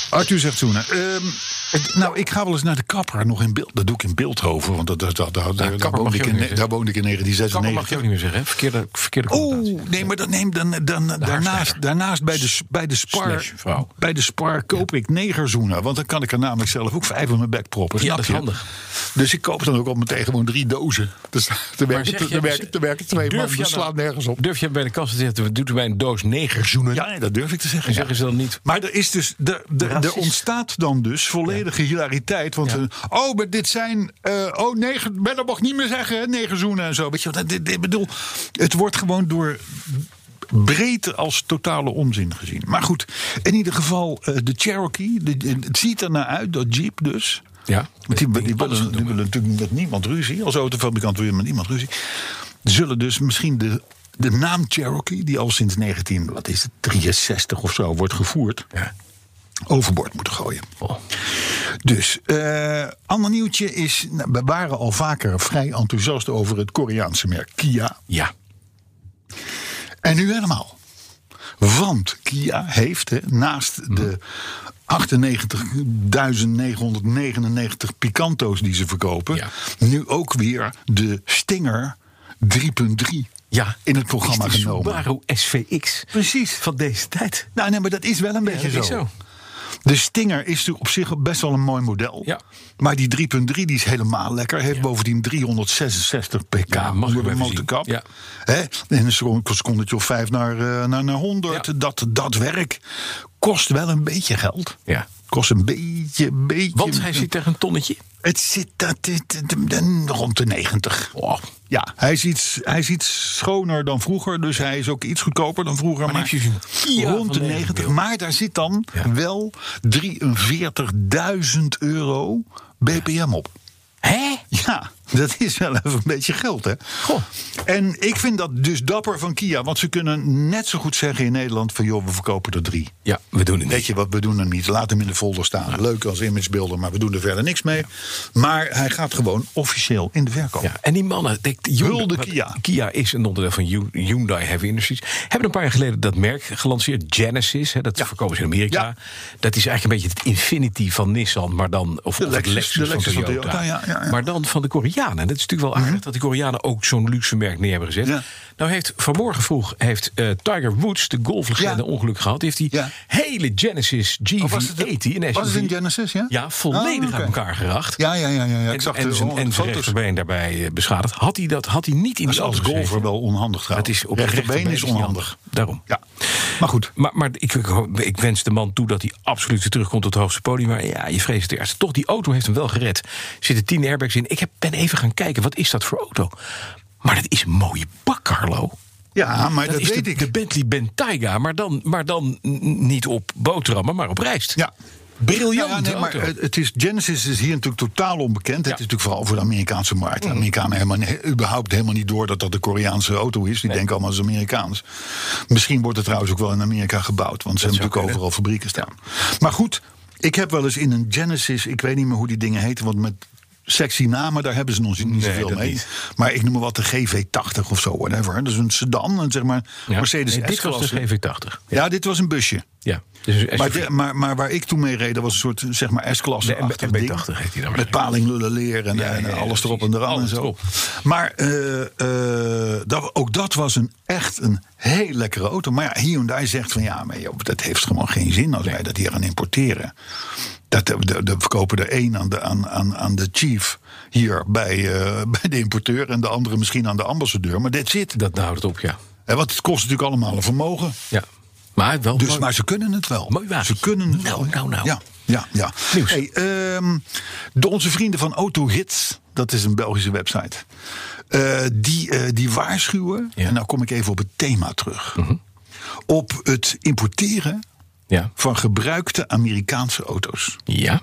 Arthur zegt zoenen. Ehm, het- nou, ik ga wel eens naar de kapper nog in beeld. Dat doe ik in Beeldhoven, want dat, dat, dat, dat- daar, kapper mag woonde je ik ook in, niet, hè? daar woonde ik in Kapper mag 1996. je ook niet meer zeggen, hè? Verkeerde, verkeerde connotatie. Oeh, nee, maar dat neem dan, dan, daarnaast, haarsnijder. daarnaast bij de, s- bij de spar. Slash vrouw. Bij de spar koop ik negerzoenen. Want dan kan ik er namelijk zelf ook vijf op mijn bek proppen. Ja, snap dat is je? handig. Dus ik koop dan ook op meteen gewoon drie dozen. Dus er werken, zeg te, je- dus- er werken, er werken twee Durf man. je Dat dan- slaat nergens op. Durf je bij de kast te zetten, doet u mij een doos negerzoenen? Ja, nee, dat durf ik te zeggen. En ja. zeggen ze dan niet... Maar er, is dus, er, er, er Racist. ontstaat dan dus volledige hilariteit. Want Ja. eh, oh, maar dit zijn. eh, oh, negen. Maar dat mag niet meer zeggen, hè, negen zoenen en zo. Weet je, wat, dit, dit- bedoel, het wordt gewoon door breedte als totale onzin gezien. Maar goed, in ieder geval, eh, de Cherokee. de- het ziet er naar uit, dat Jeep dus. Ja, Want die, die, Ik denk, willen, die willen natuurlijk met niemand ruzie. Als autofabrikant wil je met niemand ruzie. Zullen dus misschien de, de naam Cherokee, die al sinds 19, wat is het, 63 of zo wordt gevoerd, Ja. overboord moeten gooien. Oh. Dus, eh ander nieuwtje is, nou, we waren al vaker vrij enthousiast over het Koreaanse merk Kia. Ja. En nu helemaal. Want Kia heeft hè, naast de 98.999 Picanto's die ze verkopen, Ja. nu ook weer de Stinger 3.3 Ja. in het programma Is de genomen. Subaru SVX Precies. van deze tijd. Nou, nee, maar dat is wel een beetje dat is zo. zo. De Stinger is natuurlijk op zich best wel een mooi model. Ja. Maar die 3.3 die is helemaal lekker. Heeft bovendien 366 pk Ja, mag ik onder de hem even motorkap. zien. Ja. Hè? En een seconde- een secondetje of vijf naar, eh, naar, naar 100. Ja. Dat, dat werk kost wel een beetje geld. Ja. Kost een beetje, beetje. Want hij zit tegen een tonnetje. Het zit dat, dit, dit- rond de 90. Oh. Ja, hij is, iets, hij is iets schoner dan vroeger. Dus hij is ook iets goedkoper dan vroeger. Maar, dan heb je zo'n Kia rond de van 90. 90. Maar daar zit dan Ja. wel 43.000 euro BPM op. Hè? Ja, dat is wel even een beetje geld, hè? Goh. En ik vind dat dus dapper van Kia. Want ze kunnen net zo goed zeggen in Nederland... van joh, we verkopen er drie. Ja, we doen het niet. Weet je wat, we doen hem niet. Laat hem in de folder staan. Leuk als imagebeelden, maar we doen er verder niks mee. Maar hij gaat gewoon officieel in de verkoop. Ja, en die mannen, de, de Hulde Hyundai, wat- Kia. Kia is een onderdeel van Hyu- Hyundai Heavy Industries. Hebben een paar jaar geleden dat merk gelanceerd, Genesis. Hè, dat verkopen ze in Amerika. Ja. Dat is eigenlijk een beetje het Infinity van Nissan, maar dan of, De of het Lexus, Lexus, de Lexus van van Toyota. Toyota, ja, ja, ja. Maar dan van de Koreanen. Dat is natuurlijk wel aardig dat de Koreanen ook zo'n luxe merk neer hebben gezet. Ja. Nou heeft vanmorgen vroeg heeft, eh, Tiger Woods, de golflegende, Ja. ongeluk gehad. Die heeft die Ja. Oh, hele Genesis E GV80 was het, een was het SUV een Genesis, ja? Ja, volledig Ah, oké. uit elkaar geracht. Ja, ja, ja, ja, ja. Ik En- zag en de- zijn, de en zijn foto's. rechterbeen daarbij eh, beschadigd. Had hij dat had hij niet in Dat is die als auto gezeten. golfer wel onhandig Het trouwens. is op rechterbeen is niet onhandig. Daarom. Ja, maar goed. Maar, maar ik, ik, hoop- ik wens de man toe dat hij absoluut weer terugkomt tot het hoogste podium. Maar ja, je vreest het eerst. Toch, die auto heeft hem wel gered. Er zitten tien airbags in. Ik heb, ben even gaan kijken, wat is dat voor auto? Maar dat is een mooie bak, Carlo. Ja, maar dat, is weet de, ik. de Bentley Bentayga, maar dan, maar dan n- niet op boterhammen, maar op rijst. Ja. Briljant Ja, nee, maar eh, auto. het, het is, Genesis is hier natuurlijk totaal onbekend. Het is natuurlijk vooral voor de Amerikaanse markt. De Mm. Amerikanen helemaal, niet- überhaupt helemaal niet door dat dat de Koreaanse auto is. Die denken allemaal als Amerikaans. Misschien wordt het trouwens ook wel in Amerika gebouwd. Want ze hebben natuurlijk overal fabrieken staan. Maar goed, ik heb wel eens in een Genesis... Ik weet niet meer hoe die dingen heten, want met... Sexy namen, daar hebben ze nog niet zoveel dat mee. niet. Maar ik noem maar wat de GV80 of zo, whatever. Dat is een sedan, een zeg maar Ja. Mercedes Nee, dit was S-klasse. de GV80. Ja, dit was een busje. Ja, dus een Maar, SUV. de- maar, maar waar ik toen mee reed, dat was een soort zeg maar S-klasse. De MB- MB80 heet die dan Met waarschijnlijk. palinglullen leer en, Ja, ja, en ja, alles erop en precies. eraan en Alles zo. erop. Maar eh, eh, dat, ook dat was een, echt een heel lekkere auto. Maar ja, Hyundai zegt van ja, maar joh, dat heeft gewoon geen zin als wij dat hier gaan importeren. Dat, de, de, de- we kopen er één aan de, aan, aan, aan de chief hier bij, eh, bij de importeur... en de andere misschien aan de ambassadeur. Maar dit zit. Dat houdt het op, ja. Want het kost natuurlijk allemaal een vermogen. ja. Maar wel Dus, mooi. maar ze kunnen het wel. Mooi wagentje. Ze kunnen het Nou, wel. nou, nou. Ja, ja, ja. Nieuws. Hey, ehm, de, onze vrienden van Autohits, dat is een Belgische website. eh, die, eh, die waarschuwen, Ja. Mhm. en nou kom ik even op het thema terug. Op het importeren Ja. van gebruikte Amerikaanse auto's. Ja.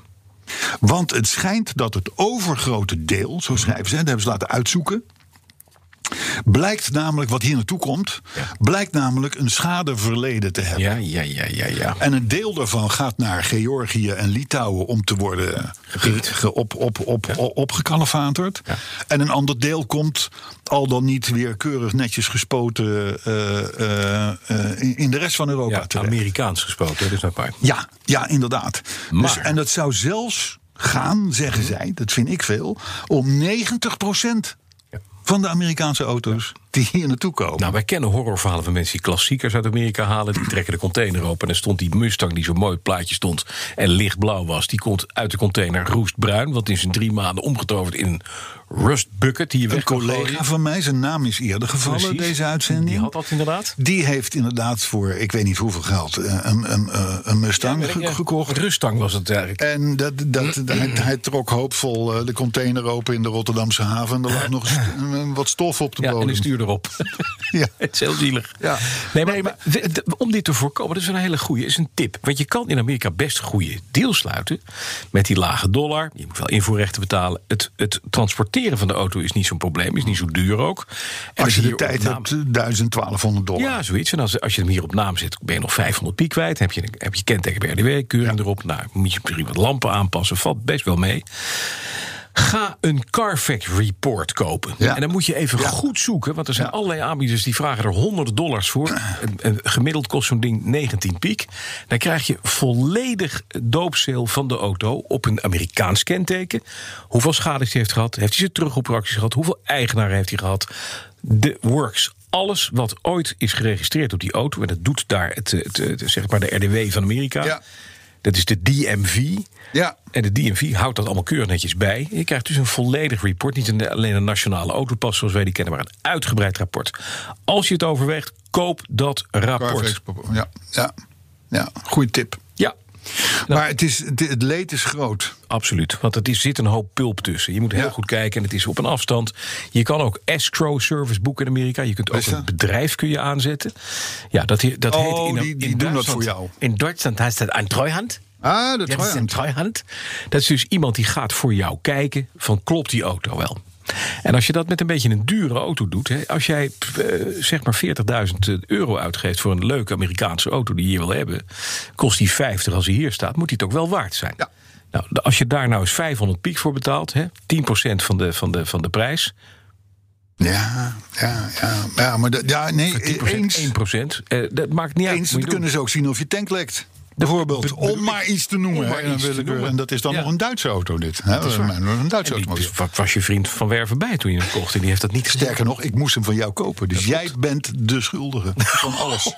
Want het schijnt dat het overgrote deel, Mhm. zo schrijven ze, dat hebben ze laten uitzoeken. Blijkt namelijk, wat hier naartoe komt, Ja. blijkt namelijk een schadeverleden te hebben. Ja, ja, ja, ja, ja. En een deel daarvan gaat naar Georgië en Litouwen om te worden ge, ge- op, op, op, op, opgekalefaterd. Ja. En een ander deel komt al dan niet weer keurig netjes gespoten eh, eh, eh, in- in de rest van Europa Ja, terecht. Amerikaans gesproken, dus apart. Ja, ja inderdaad. Maar- Mhm. Dus, en dat zou zelfs gaan, zeggen zij, dat vind ik veel, om 90% Ja. van de Amerikaanse auto's die hier naartoe komen. Nou, wij kennen horrorverhalen van mensen die klassiekers uit Amerika halen. Die trekken de container open. En er stond die Mustang die zo'n mooi plaatje stond. En lichtblauw was. Die komt uit de container roestbruin. Want die is in drie maanden omgetoverd in een rust bucket. Die je een weg kan collega gooien. van mij, zijn naam is eerder gevallen, Precies. deze uitzending. Die had dat inderdaad. Die heeft inderdaad voor ik weet niet hoeveel geld eh, een, een, eh, een Mustang ge- gekocht. Rustang was het eigenlijk. En dat, dat, hij, hij trok hoopvol eh, de container open in de Rotterdamse haven. En er lag nog eens, eh, wat stof op de Ja, en bodem. een stuur erop. Ja. Het is heel zielig. Ja. Nee, maar, maar we- d- om dit te voorkomen, dat is een hele goede, is een tip. Want je kan in Amerika best goede deals sluiten met die lage dollar. Je moet wel invoerrechten betalen. Het, het transporteren van de auto is niet zo'n probleem, is niet zo duur ook. En Als je hier de op tijd naam- hebt, eh, 1000, 1200 dollar. Ja, zoiets. En als, als je hem hier op naam zet, ben je nog 500 piek kwijt. Heb je, een- heb je kenteken bij RDW, keuring erop. Nou, moet je misschien wat lampen aanpassen. Valt best wel mee. Ga een Carfax report kopen. Ja. En dan moet je even goed zoeken. Want er zijn allerlei aanbieders die vragen er 100 dollars voor. En- en Gemiddeld kost zo'n ding 19 piek. Dan krijg je volledig doopseel van de auto op een Amerikaans kenteken. Hoeveel schades hij heeft gehad. Heeft hij zijn terugroepacties gehad. Hoeveel eigenaren heeft hij gehad. De works. Alles wat ooit is geregistreerd op die auto. En dat doet daar het, eh, het, eh, zeg maar de RDW van Amerika. Ja. Dat is de DMV. Ja. En de DMV houdt dat allemaal keurig netjes bij. Je krijgt dus een volledig report. Niet een- alleen een nationale autopas zoals wij die kennen, maar een uitgebreid rapport. Als je het overweegt, koop dat rapport. Carfax, ja, ja, ja. goede tip. Ja, Nou. maar het, is, het, het leed is groot. absoluut. Want er zit een hoop pulp tussen. Je moet heel Ja. goed kijken en het is op een afstand. Je kan ook escrow service boeken in Amerika. Je kunt ook Is dat? een bedrijf kun je aanzetten. Ja, dat, he- dat Oh, heet in, die- die in doen dat Duitsland- voor jou. In Duitsland heet dat een treuhand. Ah, dat Ja, dat is een treuhand. Dat is dus iemand die gaat voor jou kijken van klopt die auto wel. En als je dat met een beetje een dure auto doet, hè, als jij pff, eh, zeg maar 40.000 euro uitgeeft voor een leuke Amerikaanse auto die je hier wil hebben, kost die 50 als hij hier staat, moet die het ook wel waard zijn. Ja. Nou, de- als je daar nou eens 500 piek voor betaalt, hè, 10% van de, van, de, van de prijs, Ja, ja, ja. ja maar dat, ja, nee, 10%, E-, eens, 1%, eh, dat maakt niet uit. eens moet je dan doen. kunnen ze ook zien of je tank lekt. Bijvoorbeeld, be- om maar iets te noemen. om maar hè, en, dan iets wil te ik er- noemen. en dat is dan Ja. nog een Duitse auto, dit. hè. is waar. Een- een Duitse En die- automobiel. dus wat was je vriend van Werven bij toen je hem kocht? En die heeft dat niet gezegd. Sterker nog, ik moest hem van jou kopen. Dus jij bent de schuldige van alles.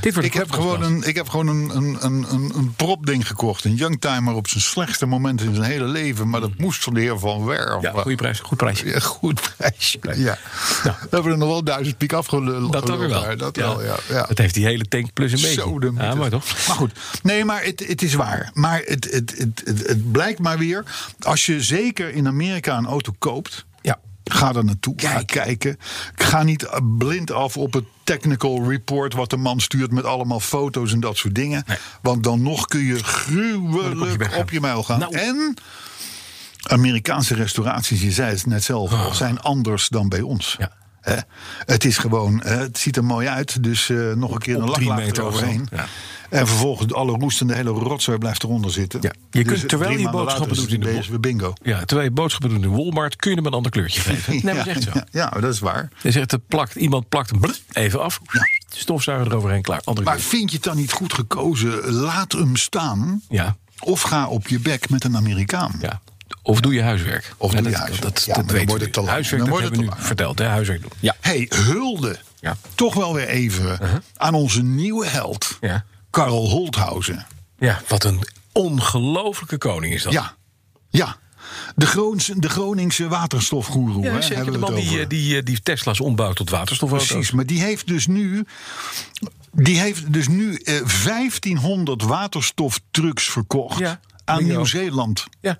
Dit wordt Ik heb gewoon een, ik heb gewoon een, een, een, een, een propding gekocht. Een youngtimer op zijn slechtste moment in zijn hele leven. Maar dat moest van de heer Van Werf. Mm. Ja, goede prijs. Goed prijsje. Ja, goed prijsje. Ja. Nou. We hebben er nog wel duizend piek afgeluld. Dat dan weer wel. Dat wel, ja. ja. Dat heeft die hele tank plus een Zo beetje. de Ja, mythe. maar toch? Maar goed, nee, maar het, het is waar. Maar het, het, het, het, het blijkt maar weer. Als je zeker in Amerika een auto koopt. Ja. Ga er naartoe, ga Kijk. kijken. Ga niet eh, blind af op het technical report wat de man stuurt met allemaal foto's en dat soort dingen. Want dan nog kun je gruwelijk op je mijl gaan. Nou. En Amerikaanse restauraties, je zei het net zelf, al, zijn anders dan bij ons. Ah. Ja. Hè? Het is gewoon, hè, het ziet er mooi uit, dus eh, nog een keer op een drie laklaag meter eroverheen. afstand, En vervolgens alle roestende hele rotzooi blijft eronder zitten. Ja. Je kunt eh, terwijl drie je maanden later boodschappen is doet in de deze weer bingo. Ja, terwijl je boodschappen doet in de Walmart, kun je hem een ander kleurtje geven. Nee, maar dat is echt zo. Ja, ja, dat is waar. Dus echt, het plakt, iemand plakt hem brrr, even af. Stofzuiger eroverheen, klaar. Andere Maar kleur. vind je het dan niet goed gekozen? Laat hem staan. Ja, Of ga op je bek met een Amerikaan. ja. Of doe je huiswerk. Of Ja, doe dat, je huiswerk. Dat, Ja, dat maar dan weten wordt het we nu. te lang. Huiswerk, Dan dat wordt hebben we het nu te verteld. Hè? Huiswerk doen. Ja. hey, hulde. Ja. Uh-huh. Toch wel weer even aan onze nieuwe held, Ja. Karl Holthausen. ja, wat een ongelofelijke koning is dat. Ja, ja. De, Groons, de Groningse waterstofgoeroe. Ja, hè, zeker. hebben De we man het die, over. eh, die, eh, die Tesla's ombouwt tot waterstofauto's. Precies, maar die heeft dus nu. Die heeft dus nu eh, 1500 waterstoftrucks verkocht Ja, aan bingo. Nieuw-Zeeland. Ja.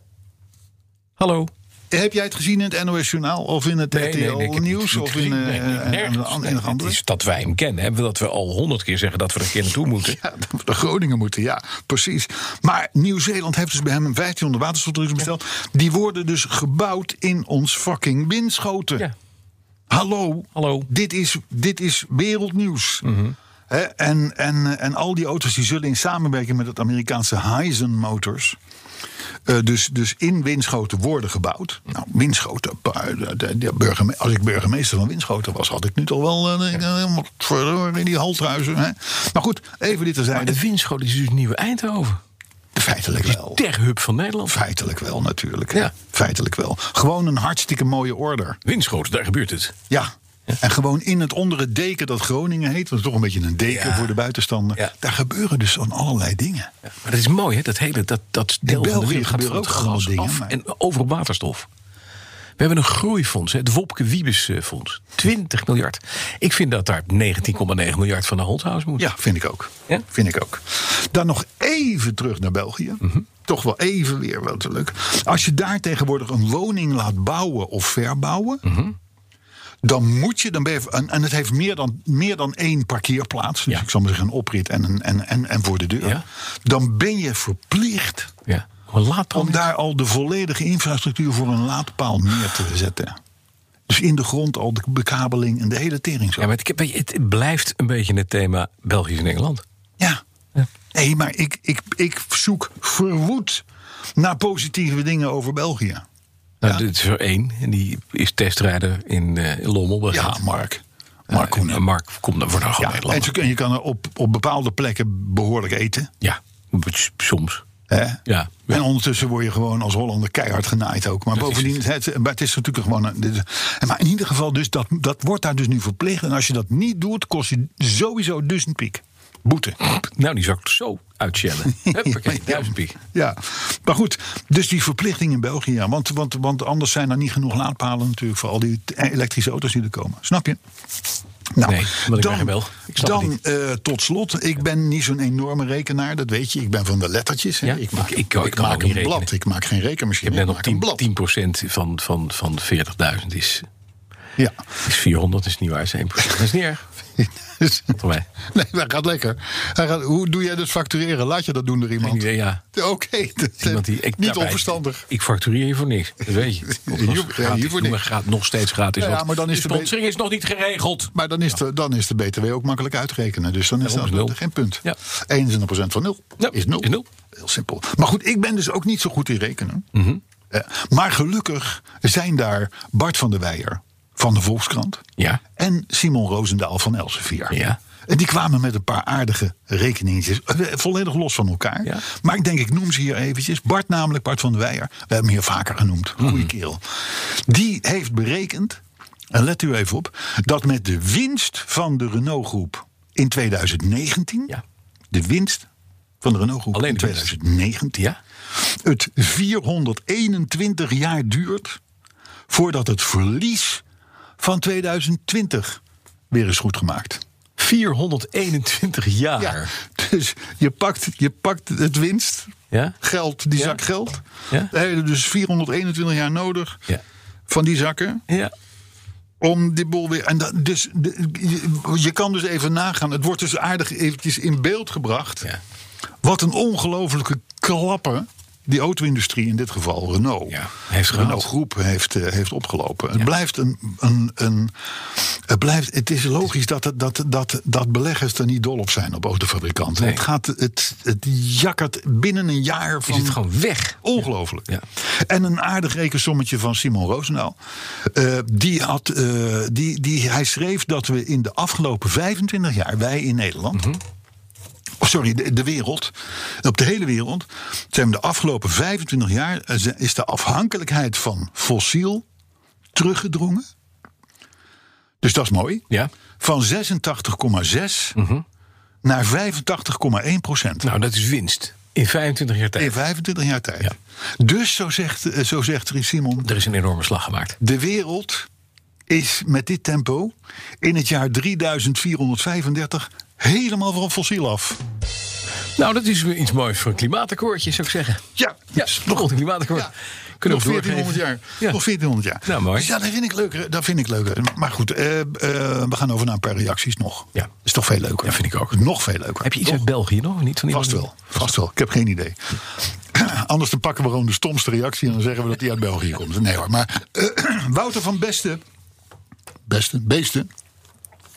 Hallo. Heb jij het gezien in het NOS-journaal of in het RTL ik heb het Nieuws? niet Of in gezien. eh, Nee, nee, een- nergens. een- een- Nee, een het andere? is dat wij hem kennen. Hè? Dat we al honderd keer zeggen dat we er een keer naartoe moeten. Ja, dat we naar Groningen moeten, ja, precies. Maar Nieuw-Zeeland heeft dus bij hem een 1500 waterstofdrugs besteld. Die worden dus gebouwd in ons fucking windschoten. Ja. Hallo, Hallo. Mhm. Dit, is, dit is wereldnieuws. Hè, en, en, en al die auto's die zullen in samenwerking met het Amerikaanse Hyzen Motors... eh, dus, dus in Winschoten worden gebouwd. Nou, Winschoten, pa- de- de- de burgerme- als ik burgemeester van Winschoten was... had ik nu toch wel eh, eh, wat verdorie in die halthuizen. Hè? Maar goed, even dit Maar terzijde. de windschoten is dus het nieuwe Eindhoven. Feitelijk wel. Tech-hub van Nederland. Feitelijk wel, natuurlijk. Ja. Feitelijk wel. Gewoon een hartstikke mooie order. Windschoten, daar gebeurt het. Ja. En gewoon in het onder het deken dat Groningen heet. Dat is toch een beetje een deken Ja. voor de buitenstander. Ja. Daar gebeuren dus van allerlei dingen. Maar dat is mooi, hè? Dat hele dat, dat deel van de België wereld gaat van gebeuren het ook allemaal gas dingen, af maar- en over op waterstof. We hebben een groeifonds, hè, het Wopke Wiebes eh, Fonds. 20 miljard. Ik vind dat daar 19,9 miljard van de Holthuis moet. Ja, vind ik ook. Ja? Vind ik ook. Dan nog even terug naar België. Mhm. Toch wel even weer wel te leuk. Als je daar tegenwoordig een woning laat bouwen of verbouwen. Mhm. Dan moet je, dan ben je, en, en het heeft meer dan, meer dan één parkeerplaats. Dus Ja. ik zal maar zeggen een oprit en, een- en, en, en voor de deur. Ja. Dan ben je verplicht ja. Maar laat dan. om daar al de volledige infrastructuur voor een laadpaal neer te zetten. Dus in de grond al de bekabeling en de hele tering zo. Ja, maar het, weet je, het blijft een beetje het thema België en Engeland. Ja. Nee, maar ik, ik, ik zoek verwoed naar positieve dingen over België. Nou, dit is er één. En die is testrijder in eh, Lommel. Ja, begaan. Mark. Mark Koenen. Eh, En Mark komt dan voor dan gewoon Ja, Nederlander. en zo kun- je kan er op, op bepaalde plekken behoorlijk eten. Ja, s- soms. Hè? Ja. En ondertussen word je gewoon als Hollander keihard genaaid ook. Maar bovendien, het, maar het is natuurlijk gewoon... Een, dit- maar in ieder geval, dus dat, dat wordt daar dus nu verplicht. En als je dat niet doet, kost je sowieso duizend piek. Boete. Nou, die zou ik zo uitschellen. Huppakee, duizend piek. Ja, maar goed, dus die verplichting in België. ja. Want, want, want anders zijn er niet genoeg laadpalen natuurlijk voor al die t- elektrische auto's die er komen. Snap je? Nou, Nee, want ik ben geen Belg. Ik snap het dan niet. eh, tot slot, ik ben niet zo'n enorme rekenaar, dat weet je. Ik ben van de lettertjes. hè. Ja, ik maak, ik, ik- ik- ik kan ook maak niet een rekenen. blad, ik maak geen rekenmachine. Je bent ik nog maak een 10, blad. 10% van, van, van 40.000 is, Ja. is 400, is niet waar, is 1%. Dat is niet erg, Dus- voor mij. nee, maar gaat lekker. Hij gaat, hoe doe jij dat factureren? Laat je dat doen door Geen iemand? idee, ja. Oké, dat- Iemand die, ik, niet daarbij- onverstandig. Ik factureer je voor niks, dat weet je. Of Ja, als hier- gratis, hier voor doe niks. maar gra- nog steeds gratis. Ja, want maar dan is de de be- sponsoring is nog niet geregeld. Maar dan is, de, dan is de BTW ook makkelijk uit te rekenen. Dus dan is Daarom dat is nul. geen punt. Ja. 21% van nul Ja, is nul. is nul. Heel simpel. Maar goed, ik ben dus ook niet zo goed in rekenen. Mhm. Eh, maar gelukkig zijn daar Bart van der Weijer van de Volkskrant... Ja. en Simon Roosendaal van Elsevier. Ja. En die kwamen met een paar aardige rekeningetjes. Eh, Volledig los van elkaar. Ja. Maar ik denk, ik noem ze hier eventjes. Bart namelijk, Bart van de Weijer. We hebben hem hier vaker genoemd. Goeie Mhm. kerel. Die heeft berekend, en let u even op... dat met de winst van de Renault Groep in 2019... Ja. de winst van de Renault Groep Alleen in de winst. 2019... Ja. het 421 jaar duurt... voordat het verlies van 2020 weer is goedgemaakt. 421 jaar. Ja, dus je pakt, je pakt het winst, Ja. geld, die Ja. zak geld. Ja. Daar heb je dus 421 jaar nodig Ja. van die zakken Ja. om die boel weer... En dat, dus, de- je- je kan dus even nagaan, het wordt dus aardig eventjes in beeld gebracht... Ja. wat een ongelofelijke klappen die auto-industrie, in dit geval Renault... Ja, heeft gehad. Renault Groep heeft, eh, heeft opgelopen. Het blijft een... een, een het, blijft, het is logisch dat, het- dat, dat, dat beleggers er niet dol op zijn op autofabrikanten. Nee. Het, gaat, het, het jakkert binnen een jaar van... Is het gewoon weg? Ongelooflijk. Ja. En een aardig rekensommetje van Simon Roosendaal. Eh, die had, eh, die, die, hij schreef dat we in de afgelopen 25 jaar, wij in Nederland. Mhm. oh, Sorry, de, de wereld. Op de hele wereld. Zijn we de afgelopen 25 jaar. eh, ze- is de afhankelijkheid van fossiel teruggedrongen. Dus dat is mooi. Ja. Mhm. Van 86,6 naar 85,1 procent. Nou, dat is winst. In 25 jaar tijd. In 25 jaar tijd. Ja. Dus zo zegt, eh, zo zegt Simon, Er is een enorme slag gemaakt. de wereld is met dit tempo in het jaar 3435 helemaal van fossiel af. Nou, dat is weer iets moois voor een klimaatakkoordje, zou ik zeggen. Ja, Ja, nog een klimaatakkoord. Ja. Kunnen Dus nog we doorgeven. 1400 jaar. Ja. Nog 1400 jaar. Nou, mooi. Dus ja, dat vind ik leuker. Dat vind ik leuker. Maar goed, eh, eh, we gaan over naar een paar reacties nog. Ja. Is toch veel leuker? Ja, vind ik ook. Nog veel leuker. Heb je iets Toch? uit België nog? of Niet van iemand Vast wel, vast wel. Ik heb geen idee. Anders dan pakken we gewoon de stomste reactie en dan zeggen we dat die uit België komt. Nee hoor, maar eh, Wouter van Beste, Beste, Beesten,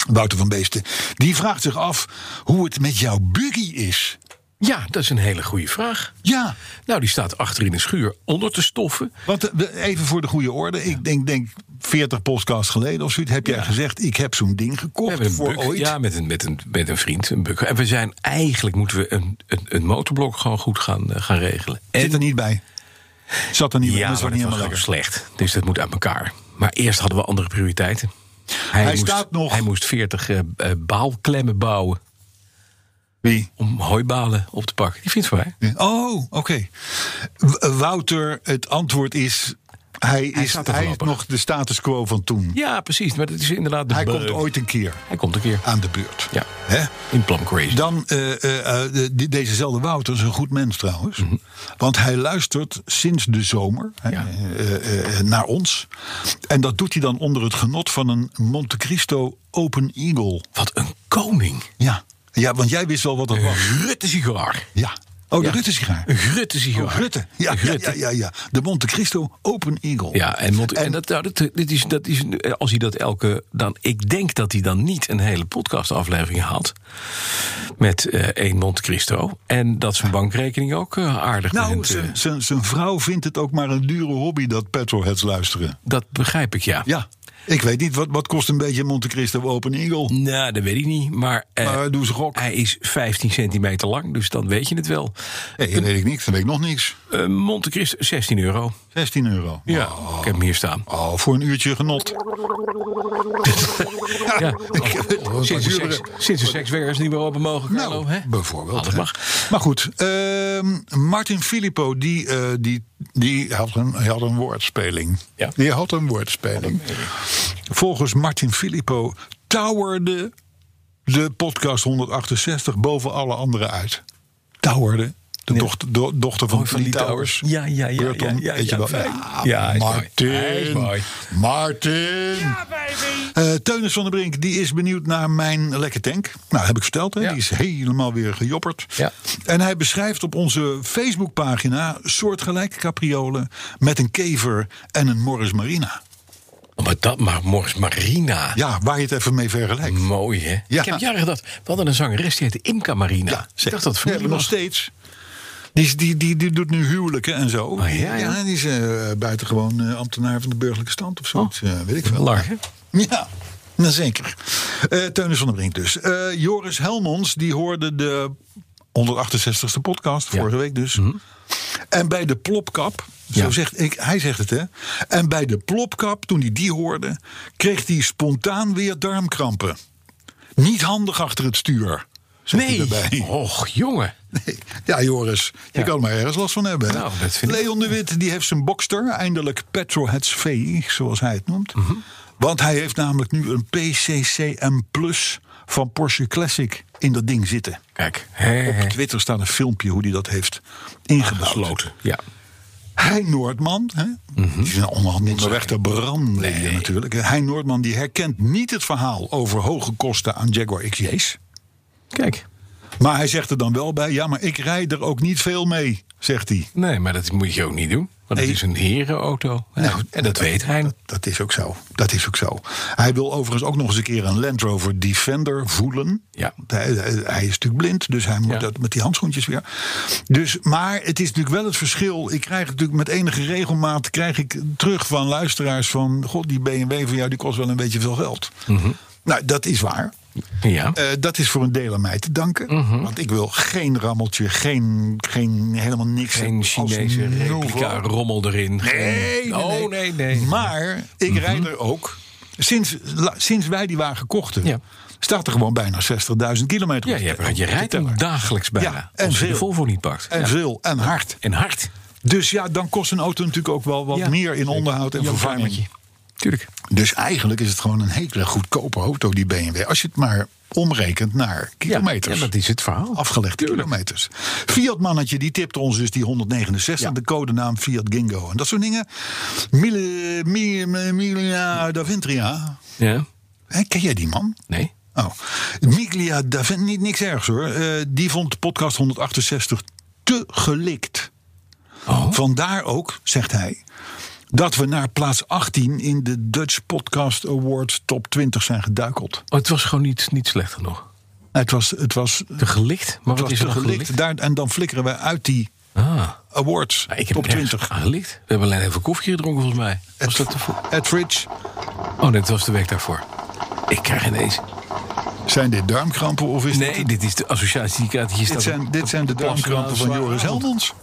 Wouter van Beesten, die vraagt zich af hoe het met jouw buggy is. Ja, dat is een hele goede vraag. Ja, Nou, die staat achter in de schuur onder te stoffen. want eh, we- even voor de goede orde, ik denk, denk 40 podcasts geleden of zoiets, heb jij gezegd, ik heb zo'n ding We gekocht hebben een voor buk, ooit. Ja, met een, met, een, met een vriend, een buk. En we zijn eigenlijk, moeten we een, een, een motorblok gewoon goed gaan, eh, gaan regelen. En Zit er niet bij. Zat er niet bij, Ja, dat is maar ook dat niet was helemaal gewoon lekker. slecht. Dus dat moet aan elkaar. Maar eerst hadden we andere prioriteiten. Hij, Hij moest, staat nog. Hij moest 40 eh, eh, baalklemmen bouwen Wie? om hooibalen op te pakken. Die vindt voor mij. Oh, oké. W- eh, Wouter, het antwoord is. Hij, is, staat er hij is voorlopig. nog de status quo van toen. Ja, precies. Maar dat is inderdaad de hij beuk. komt ooit een keer Hij komt een keer. aan de beurt. Ja. Hè? In Plum Crazy. Dan, eh, eh, eh, de- die- dezezelfde Wouter is een goed mens trouwens. Want hij luistert sinds de zomer hè, Mhm. Ja. eh, eh, eh, naar ons. En dat doet hij dan onder het genot van een Monte Cristo Open Eagle. Wat een koning. Ja, ja want jij wist wel wat dat was. Rutte sigaar. Ja. Oh, de Ja. Rutte sigaar. Een Rutte sigaar. Oh, Rutte. Ja, ja, ja, ja, ja. De Monte Cristo Open Eagle. Ja, en, Mont- en, dat, nou, dat, dit is, dat is, als hij dat elke. Dan, ik denk dat hij dan niet een hele podcastaflevering had. Met eh één Monte Cristo. En dat zijn bankrekening ook eh, aardig nou, begint, eh, zijn- zijn- zijn vrouw vindt het ook maar een dure hobby dat petrolheads luisteren. Dat begrijp ik, ja. Ja, ik weet niet, wat, wat kost een beetje Monte Cristo Open Eagle? Nou, dat weet ik niet. Maar, eh, Maar doe eens een gok. hij is 15 centimeter lang, dus dan weet je het wel. Nee, dat weet ik niks, dat weet ik nog niks. Eh, Monte Cristo, 16 euro. 16 euro. Ja, ik heb hem hier staan. Oh, voor een uurtje genot. Ja. Ik heb het wel een paar Sinds de seks- duurdere. sinds de sekswerkers niet meer open mogen, Carlo. Nou, hè? bijvoorbeeld. Alles hè. mag. Maar goed, ehm, Martin Filippo, die, eh, die, die had, een, hij had een woordspeling. Ja. Die had een woordspeling. Volgens Martin Filippo towerde de podcast 168 boven alle anderen uit. Towerde. De dochter, do- dochter van, Oh, van Lee Lee Towers. Towers. Ja, ja, ja, Burton, ja, ja, weet je ja, wel. Ah, fijn. Ja, hij is mooi. Martin. Hij is mooi. Martin. Eh, Teunis van der Brink die is benieuwd naar mijn lekke tank. Nou, heb ik verteld. Hè? Ja. Die is helemaal weer gejopperd. Ja. En hij beschrijft op onze Facebookpagina soortgelijke capriolen met een kever en een Morris Marina. Maar dat maar, Morris Marina. Ja, waar je het even mee vergelijkt. Mooi, hè? Ja. Ik heb jaren gedacht, we hadden een zangeres die heette Imka Marina. ik dacht dat het ja, familie maar nog was. steeds. Die, die, die, die doet nu huwelijken en zo. ja, Oh, ja. die Oh. is eh, buitengewoon eh, ambtenaar van de burgerlijke stand of zoiets. eh, weet ik veel. Lar, hè? Ja. Nou, zeker. Eh Teunis van der Brink dus. Eh, Joris Helmons, die hoorde de 168ste podcast, vorige week dus. En bij de plopkap, zo Mhm. Ja. zegt ik, hij zegt het hè. En bij de plopkap, toen hij die hoorde, kreeg hij spontaan weer darmkrampen. Niet handig achter het stuur. zegt hij daarbij. Nee. Och, jongen. Nee. Ja, Joris, je Ja. kan er maar ergens last van hebben. hè? Nou, dat vind ik. Leon de Wit die heeft zijn bokster, eindelijk Petroheads V, zoals hij het noemt. Mhm. Want hij heeft namelijk nu een PCCM Plus van Porsche Classic in dat ding zitten. Kijk. Hè, Op hè. Twitter staat een filmpje hoe hij dat heeft ingebouwd. Gesloten. Ja. Hein Noordman, hè? Mhm. die is onder- onderweg te branden hier natuurlijk. Hein Noordman die herkent niet het verhaal over hoge kosten aan Jaguar XJ's. Kijk. Maar hij zegt er dan wel bij: ja, maar ik rijd er ook niet veel mee, zegt hij. Nee, maar dat moet je ook niet doen. Want Nee. het is een herenauto. Nou, en dat weet hij. Dat, dat is ook zo. Dat is ook zo. Hij wil overigens ook nog eens een keer een Land Rover Defender voelen. Ja. Hij, hij- hij is natuurlijk blind, dus hij moet Ja. dat met die handschoentjes weer. Dus, maar het is natuurlijk wel het verschil. Ik krijg natuurlijk met enige regelmaat krijg ik terug van luisteraars van... God, die BMW van jou die kost wel een beetje veel geld. Mhm. Nou, dat is waar. Ja. Eh, dat is voor een deel aan mij te danken. Mhm. Want ik wil geen rammeltje, geen, geen helemaal niks. geen als Chinese Novo. replica rommel erin. Geen- Nee, nee, Oh, nee, nee. Mhm. Maar ik rijd er ook. Sinds, la- sinds wij die wagen kochten, Ja. staat er gewoon bijna 60.000 kilometer. Ja, op je, de- hebt- op de je rijdt hem teller. dagelijks bijna. Ja, en en als je de veel. Volvo niet pakt. En Ja. veel en hard. En hard. Dus ja, dan kost een auto natuurlijk ook wel wat Ja. meer in onderhoud en Jan verwarming. Kramertje. Tuurlijk. Dus eigenlijk is het gewoon een hele goedkope auto, die BMW. Als je het maar omrekent naar kilometers. Oh, Ja, dat is het verhaal. Afgelegde kilometers. Fiat mannetje die tipte ons dus die 169, Ja. de codenaam Fiat Gingo en dat soort dingen. Mille, Mille, Miglia da Ventria. Ja. Hè, ken jij die man? Nee. Oh, Miglia da Vent, niet niks ergs hoor. Eh, die vond podcast 168 te gelikt. Oh. Vandaar ook, zegt hij, dat we naar plaats 18 in de Dutch Podcast Award top 20 zijn geduikeld. Oh, het was gewoon niet, niet slecht genoeg. Het was, het was, Te gelicht? Maar het wat was is er te dan gelikt. gelicht? Daar, en dan flikkeren we uit die Ah. awards. Nou, ik heb top nergens 20. aan gelicht. We hebben alleen even koffie gedronken volgens mij. Was dat ervoor? Edridge, Oh, nee, dat was de week daarvoor. Ik krijg ineens... zijn dit darmkrampen of is Nee, dit... dit is de associatie die ik hier staat. Dit zijn, op- dit zijn de op plaats darmkrampen van zwaar Joris avond. Helmonds.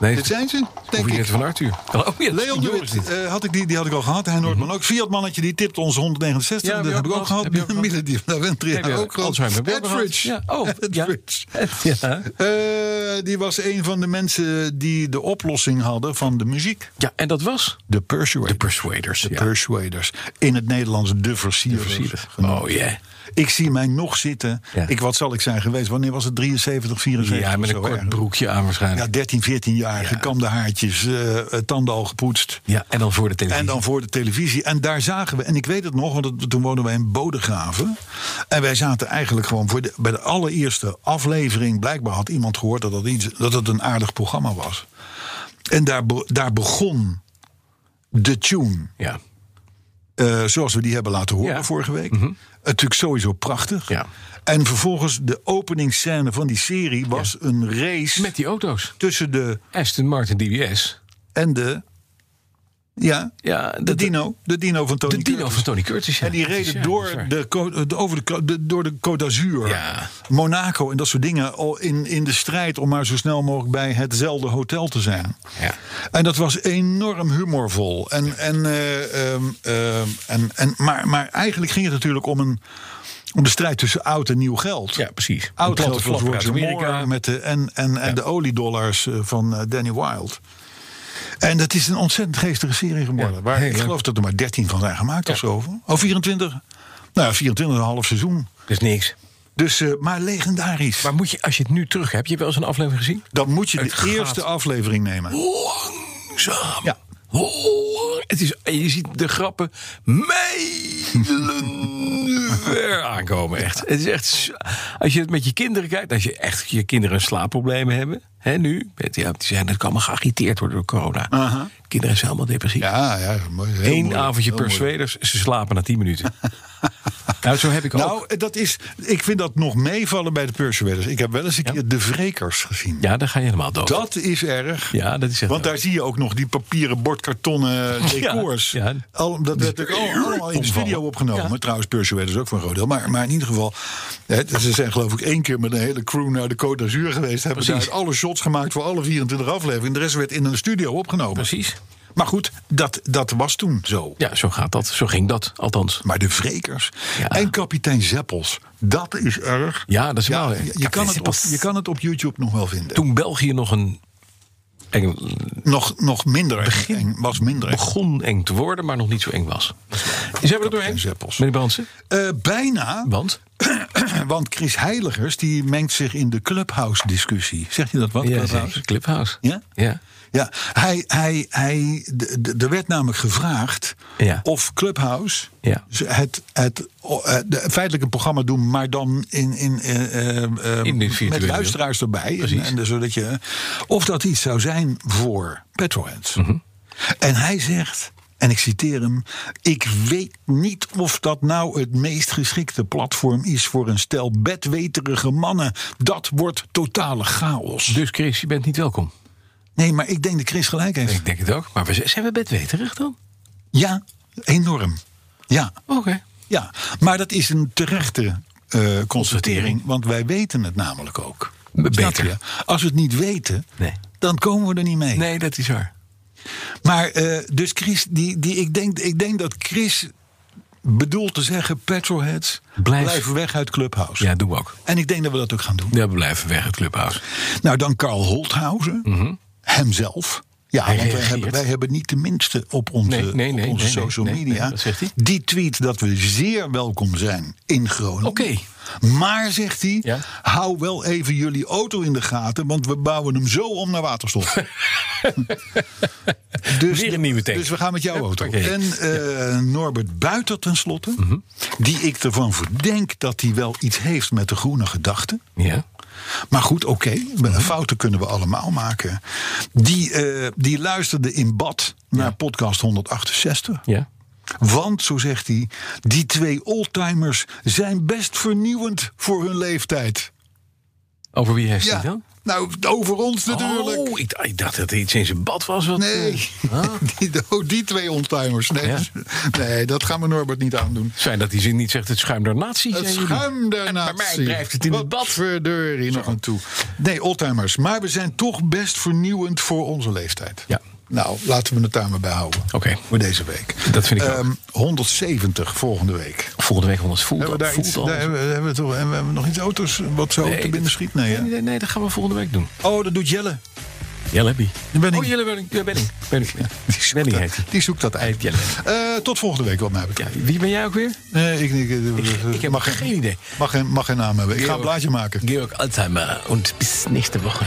Nee, Dit zijn ze, denk Koffie ik. van Arthur. Oh, ja, Leon de Joris Wit, dit. eh, had ik die, die had ik al gehad. Hij Noordman ook. Fiat mannetje, die tipte ons 169. Ja, heb dat je heb ik ook ook gehad. gehad. Heb je ook gehad. Mille die van Aventria Heb je ook gehad. Alzheimer, heb je ook gehad? Edridge. Ja, oh, ja. Edridge. Ja. Eh, die was een van de mensen die de oplossing hadden van de muziek. Ja, en dat was? De Persuaders. De Persuaders. De ja. Persuaders. In het Nederlands de versierders. Persuaders. genoemd. Oh, ja. Ik zie mij nog zitten. Ja. Ik, wat zal ik zijn geweest? Wanneer was het? 73, 74? Ja, met of een zo, kort hè? broekje aan waarschijnlijk. Ja, 13, 14 jaar. Gekamde haartjes, eh, eh, tanden al gepoetst. Ja, en dan voor de televisie. En dan voor de televisie. En daar zagen we, en ik weet het nog, want het- toen woonden wij in Bodegraven. En wij zaten eigenlijk gewoon voor de, bij de allereerste aflevering. Blijkbaar had iemand gehoord dat, dat, iets, dat het een aardig programma was. En daar, be- daar begon de tune. Ja, eh, zoals we die hebben laten horen Ja. Mhm. vorige week. Natuurlijk sowieso prachtig. Ja. En vervolgens de openingsscène van die serie was een race met die auto's. tussen de Aston Martin DBS. en de. Ja, Ja, de, Dino. De Dino van Tony De Dino Curtis. van Tony Curtis. ja. En die Dat is- reden ja, dat is door, waar. de, co- de- over de, co- de- door de Côte d'Azur, Ja. Monaco en dat soort dingen. al In, in de strijd om maar zo snel mogelijk bij hetzelfde hotel te zijn. Ja. En dat was enorm humorvol. En, en, eh, ehm, ehm, en, en, maar, maar eigenlijk ging het natuurlijk om, een, om de strijd tussen oud en nieuw geld. Ja, precies. Een Oud platte geld was flapper uit Roger Amerika. Moore met de, en, en, en de oliedollars eh, van eh, Danny Wilde. En dat is een ontzettend geestige serie geworden. Ja, waar heel ik leuk. geloof dat er maar 13 van zijn gemaakt of zo. Oh, 24? Nou ja, 24 een half seizoen. Dat is niks. Dus, eh, maar legendarisch. Maar moet je, als je het nu terug hebt, je hebt wel eens een aflevering gezien? dan moet je de het gaat- eerste aflevering nemen. Langzaam. Ja. Hoor. Het is, en je ziet de grappen mijlen ver aankomen. Echt. Het is echt. zo- Als je het met je kinderen kijkt, als je echt je kinderen slaapproblemen hebben, hè, nu, met, ja, die zijn, dat kan maar geagiteerd worden door corona. Kinderen zijn helemaal depressief. Ja, ja. mooi, heel Eén mooi. avondje Heel per mooi. Zweders, ze slapen na 10 minuten. Nou, zo heb ik ook. Nou, dat is, ik vind dat nog meevallen bij de Persewedders. Ik heb wel eens een Ja. keer de Vrekers gezien. Ja, dan ga je helemaal dood. Dat is erg. Ja, dat is echt Want erg. daar zie je ook nog die papieren bordkartonnen decors. ja. Al, dat werd ook al- allemaal in de studio opgenomen. Trouwens, Persuade is ook van een groot deel. Maar, maar in ieder geval, hè, ze zijn geloof ik één keer met een hele crew naar de Côte d'Azur geweest. Hebben Precies. daar alle shots gemaakt voor alle 24 afleveringen. De rest werd in een studio opgenomen. Precies. Maar goed, dat, dat was toen zo. Ja, zo gaat dat. Zo ging dat, althans. Maar de Vrekers Ja. en kapitein Zeppels, dat is erg. Ja, dat is wel erg. je, je, Kapitein kan het op, Zeppels. je kan het op YouTube nog wel vinden. Toen België nog een... Eng, nog, nog minder eng, was minder eng. begon eng te worden, maar nog niet zo eng was. Zijn we er doorheen? Zeppels. Meneer Bransen? Eh, bijna, Want? want Chris Heiligers die mengt zich in de clubhouse-discussie. Zeg je dat wat? Ja, clubhouse? zeker. Clubhouse. Ja? Ja. Ja, hij, hij, hij, d- d- er werd namelijk gevraagd Ja. of Clubhouse Ja. z- het, het, o- eh, de- feitelijk een programma doen, maar dan in, in, eh, eh, eh, In de met virtuele. luisteraars erbij. En, Precies. en, dus zodat je, of dat iets zou zijn voor Petroheads. Mhm. En hij zegt, en ik citeer hem, ik weet niet of dat nou het meest geschikte platform is voor een stel bedweterige mannen. Dat wordt totale chaos. Dus Chris, je bent niet welkom. Nee, maar ik denk dat Chris gelijk heeft. Ik denk het ook. Maar we z- zijn we bedweterig dan? Ja, enorm. Ja, Oké. ja. Maar dat is een terechte eh, constatering, want wij weten het namelijk ook. Beter. Snap je? Als we het niet weten, Nee. dan komen we er niet mee. Nee, dat is waar. Maar eh, dus Chris, die, die, ik, denk, ik denk dat Chris bedoelt te zeggen: petrolheads, Blijf- blijf, weg uit Clubhouse. Ja, doen we ook. En ik denk dat we dat ook gaan doen. Ja, we blijven weg het clubhouse. Nou, dan Karl Holthausen, Mhm. hemzelf. Ja, Hij want wij reageert. hebben, wij hebben niet de minste op onze, Nee, nee, nee, op onze nee, nee, social nee, nee, media. dat zegt hij. Die tweet dat we zeer welkom zijn in Groningen. Oké. Maar, zegt hij, Ja. hou wel even jullie auto in de gaten... want we bouwen hem zo om naar waterstof. dus, Weer een nieuwe tank. Dus we gaan met jouw auto. Oké. Mhm. En eh, Norbert Buiter tenslotte... die ik ervan verdenk dat hij wel iets heeft met de groene gedachten... Ja. Maar goed, oké, fouten kunnen we allemaal maken. Die, eh, die luisterde in bad naar podcast 168. Ja. Want, zo zegt hij, die twee oldtimers zijn best vernieuwend voor hun leeftijd. Over wie heeft hij het Ja, dan? nou, over ons natuurlijk. Oh, ik, d- ik dacht dat er iets in zijn bad was. Wat, eh, Nee, die, oh, die twee oldtimers. Nee, Ja. nee, dat gaan we Norbert niet aandoen. zijn dat die zin niet zegt het schuim der natie? Het zei jullie? schuim der Maar natie. mij drijft het in het bad. Wat verdorie nog aan toe. Nee, oldtimers. Maar we zijn toch best vernieuwend voor onze leeftijd. Ja. Nou, laten we het daar maar bij houden. Oké. Voor deze week. Dat vind ik ook. Ehm, 170 volgende week. Volgende week honderd voelt Hebben we daar voelt iets, al- daar hebben, we- hebben we toch, en we hebben nog iets auto's wat zo Nee, te binnen dat- schiet? Nee, hè? Nee, nee, nee, dat gaan we volgende week doen. Oh, dat doet Jelle. Jelle Abbey. Benning. Oh, Jelle Benning. Ja, Benning. Benning. Ja. Benning heet hij. Die zoekt dat Hij heet uit. Jelle. Eh, tot volgende week, wat mij Ja, betreft. wie ben jij ook weer? Nee, ik, ik, ik heb geen idee. Mag geen, mag geen naam hebben. Ik ga een blaadje maken. Georg Alzheimer. Und bis nächste Woche.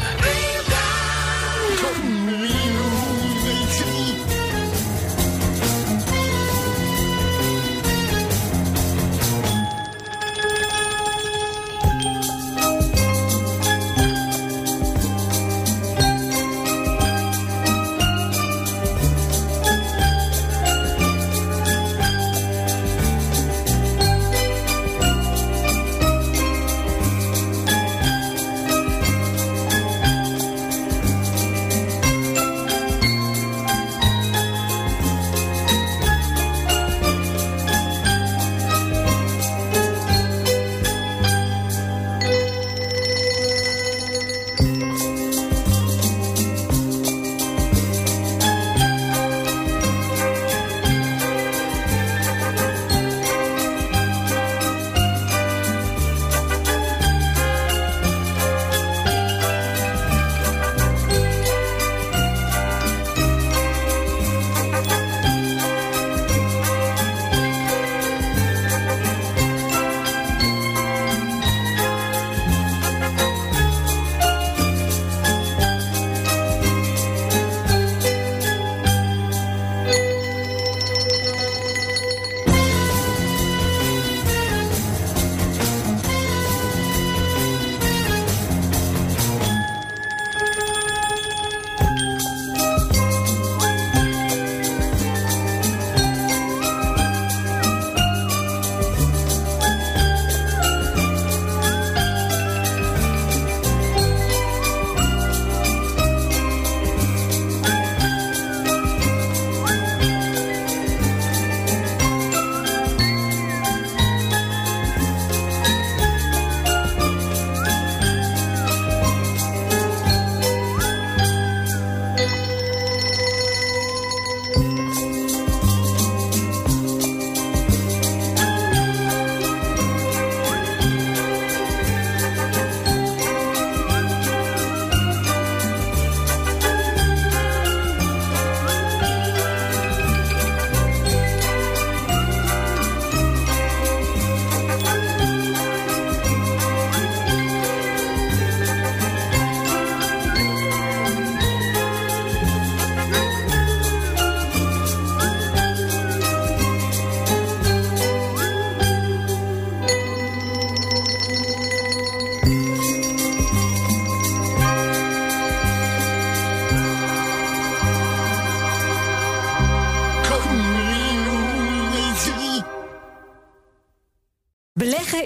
Beleggen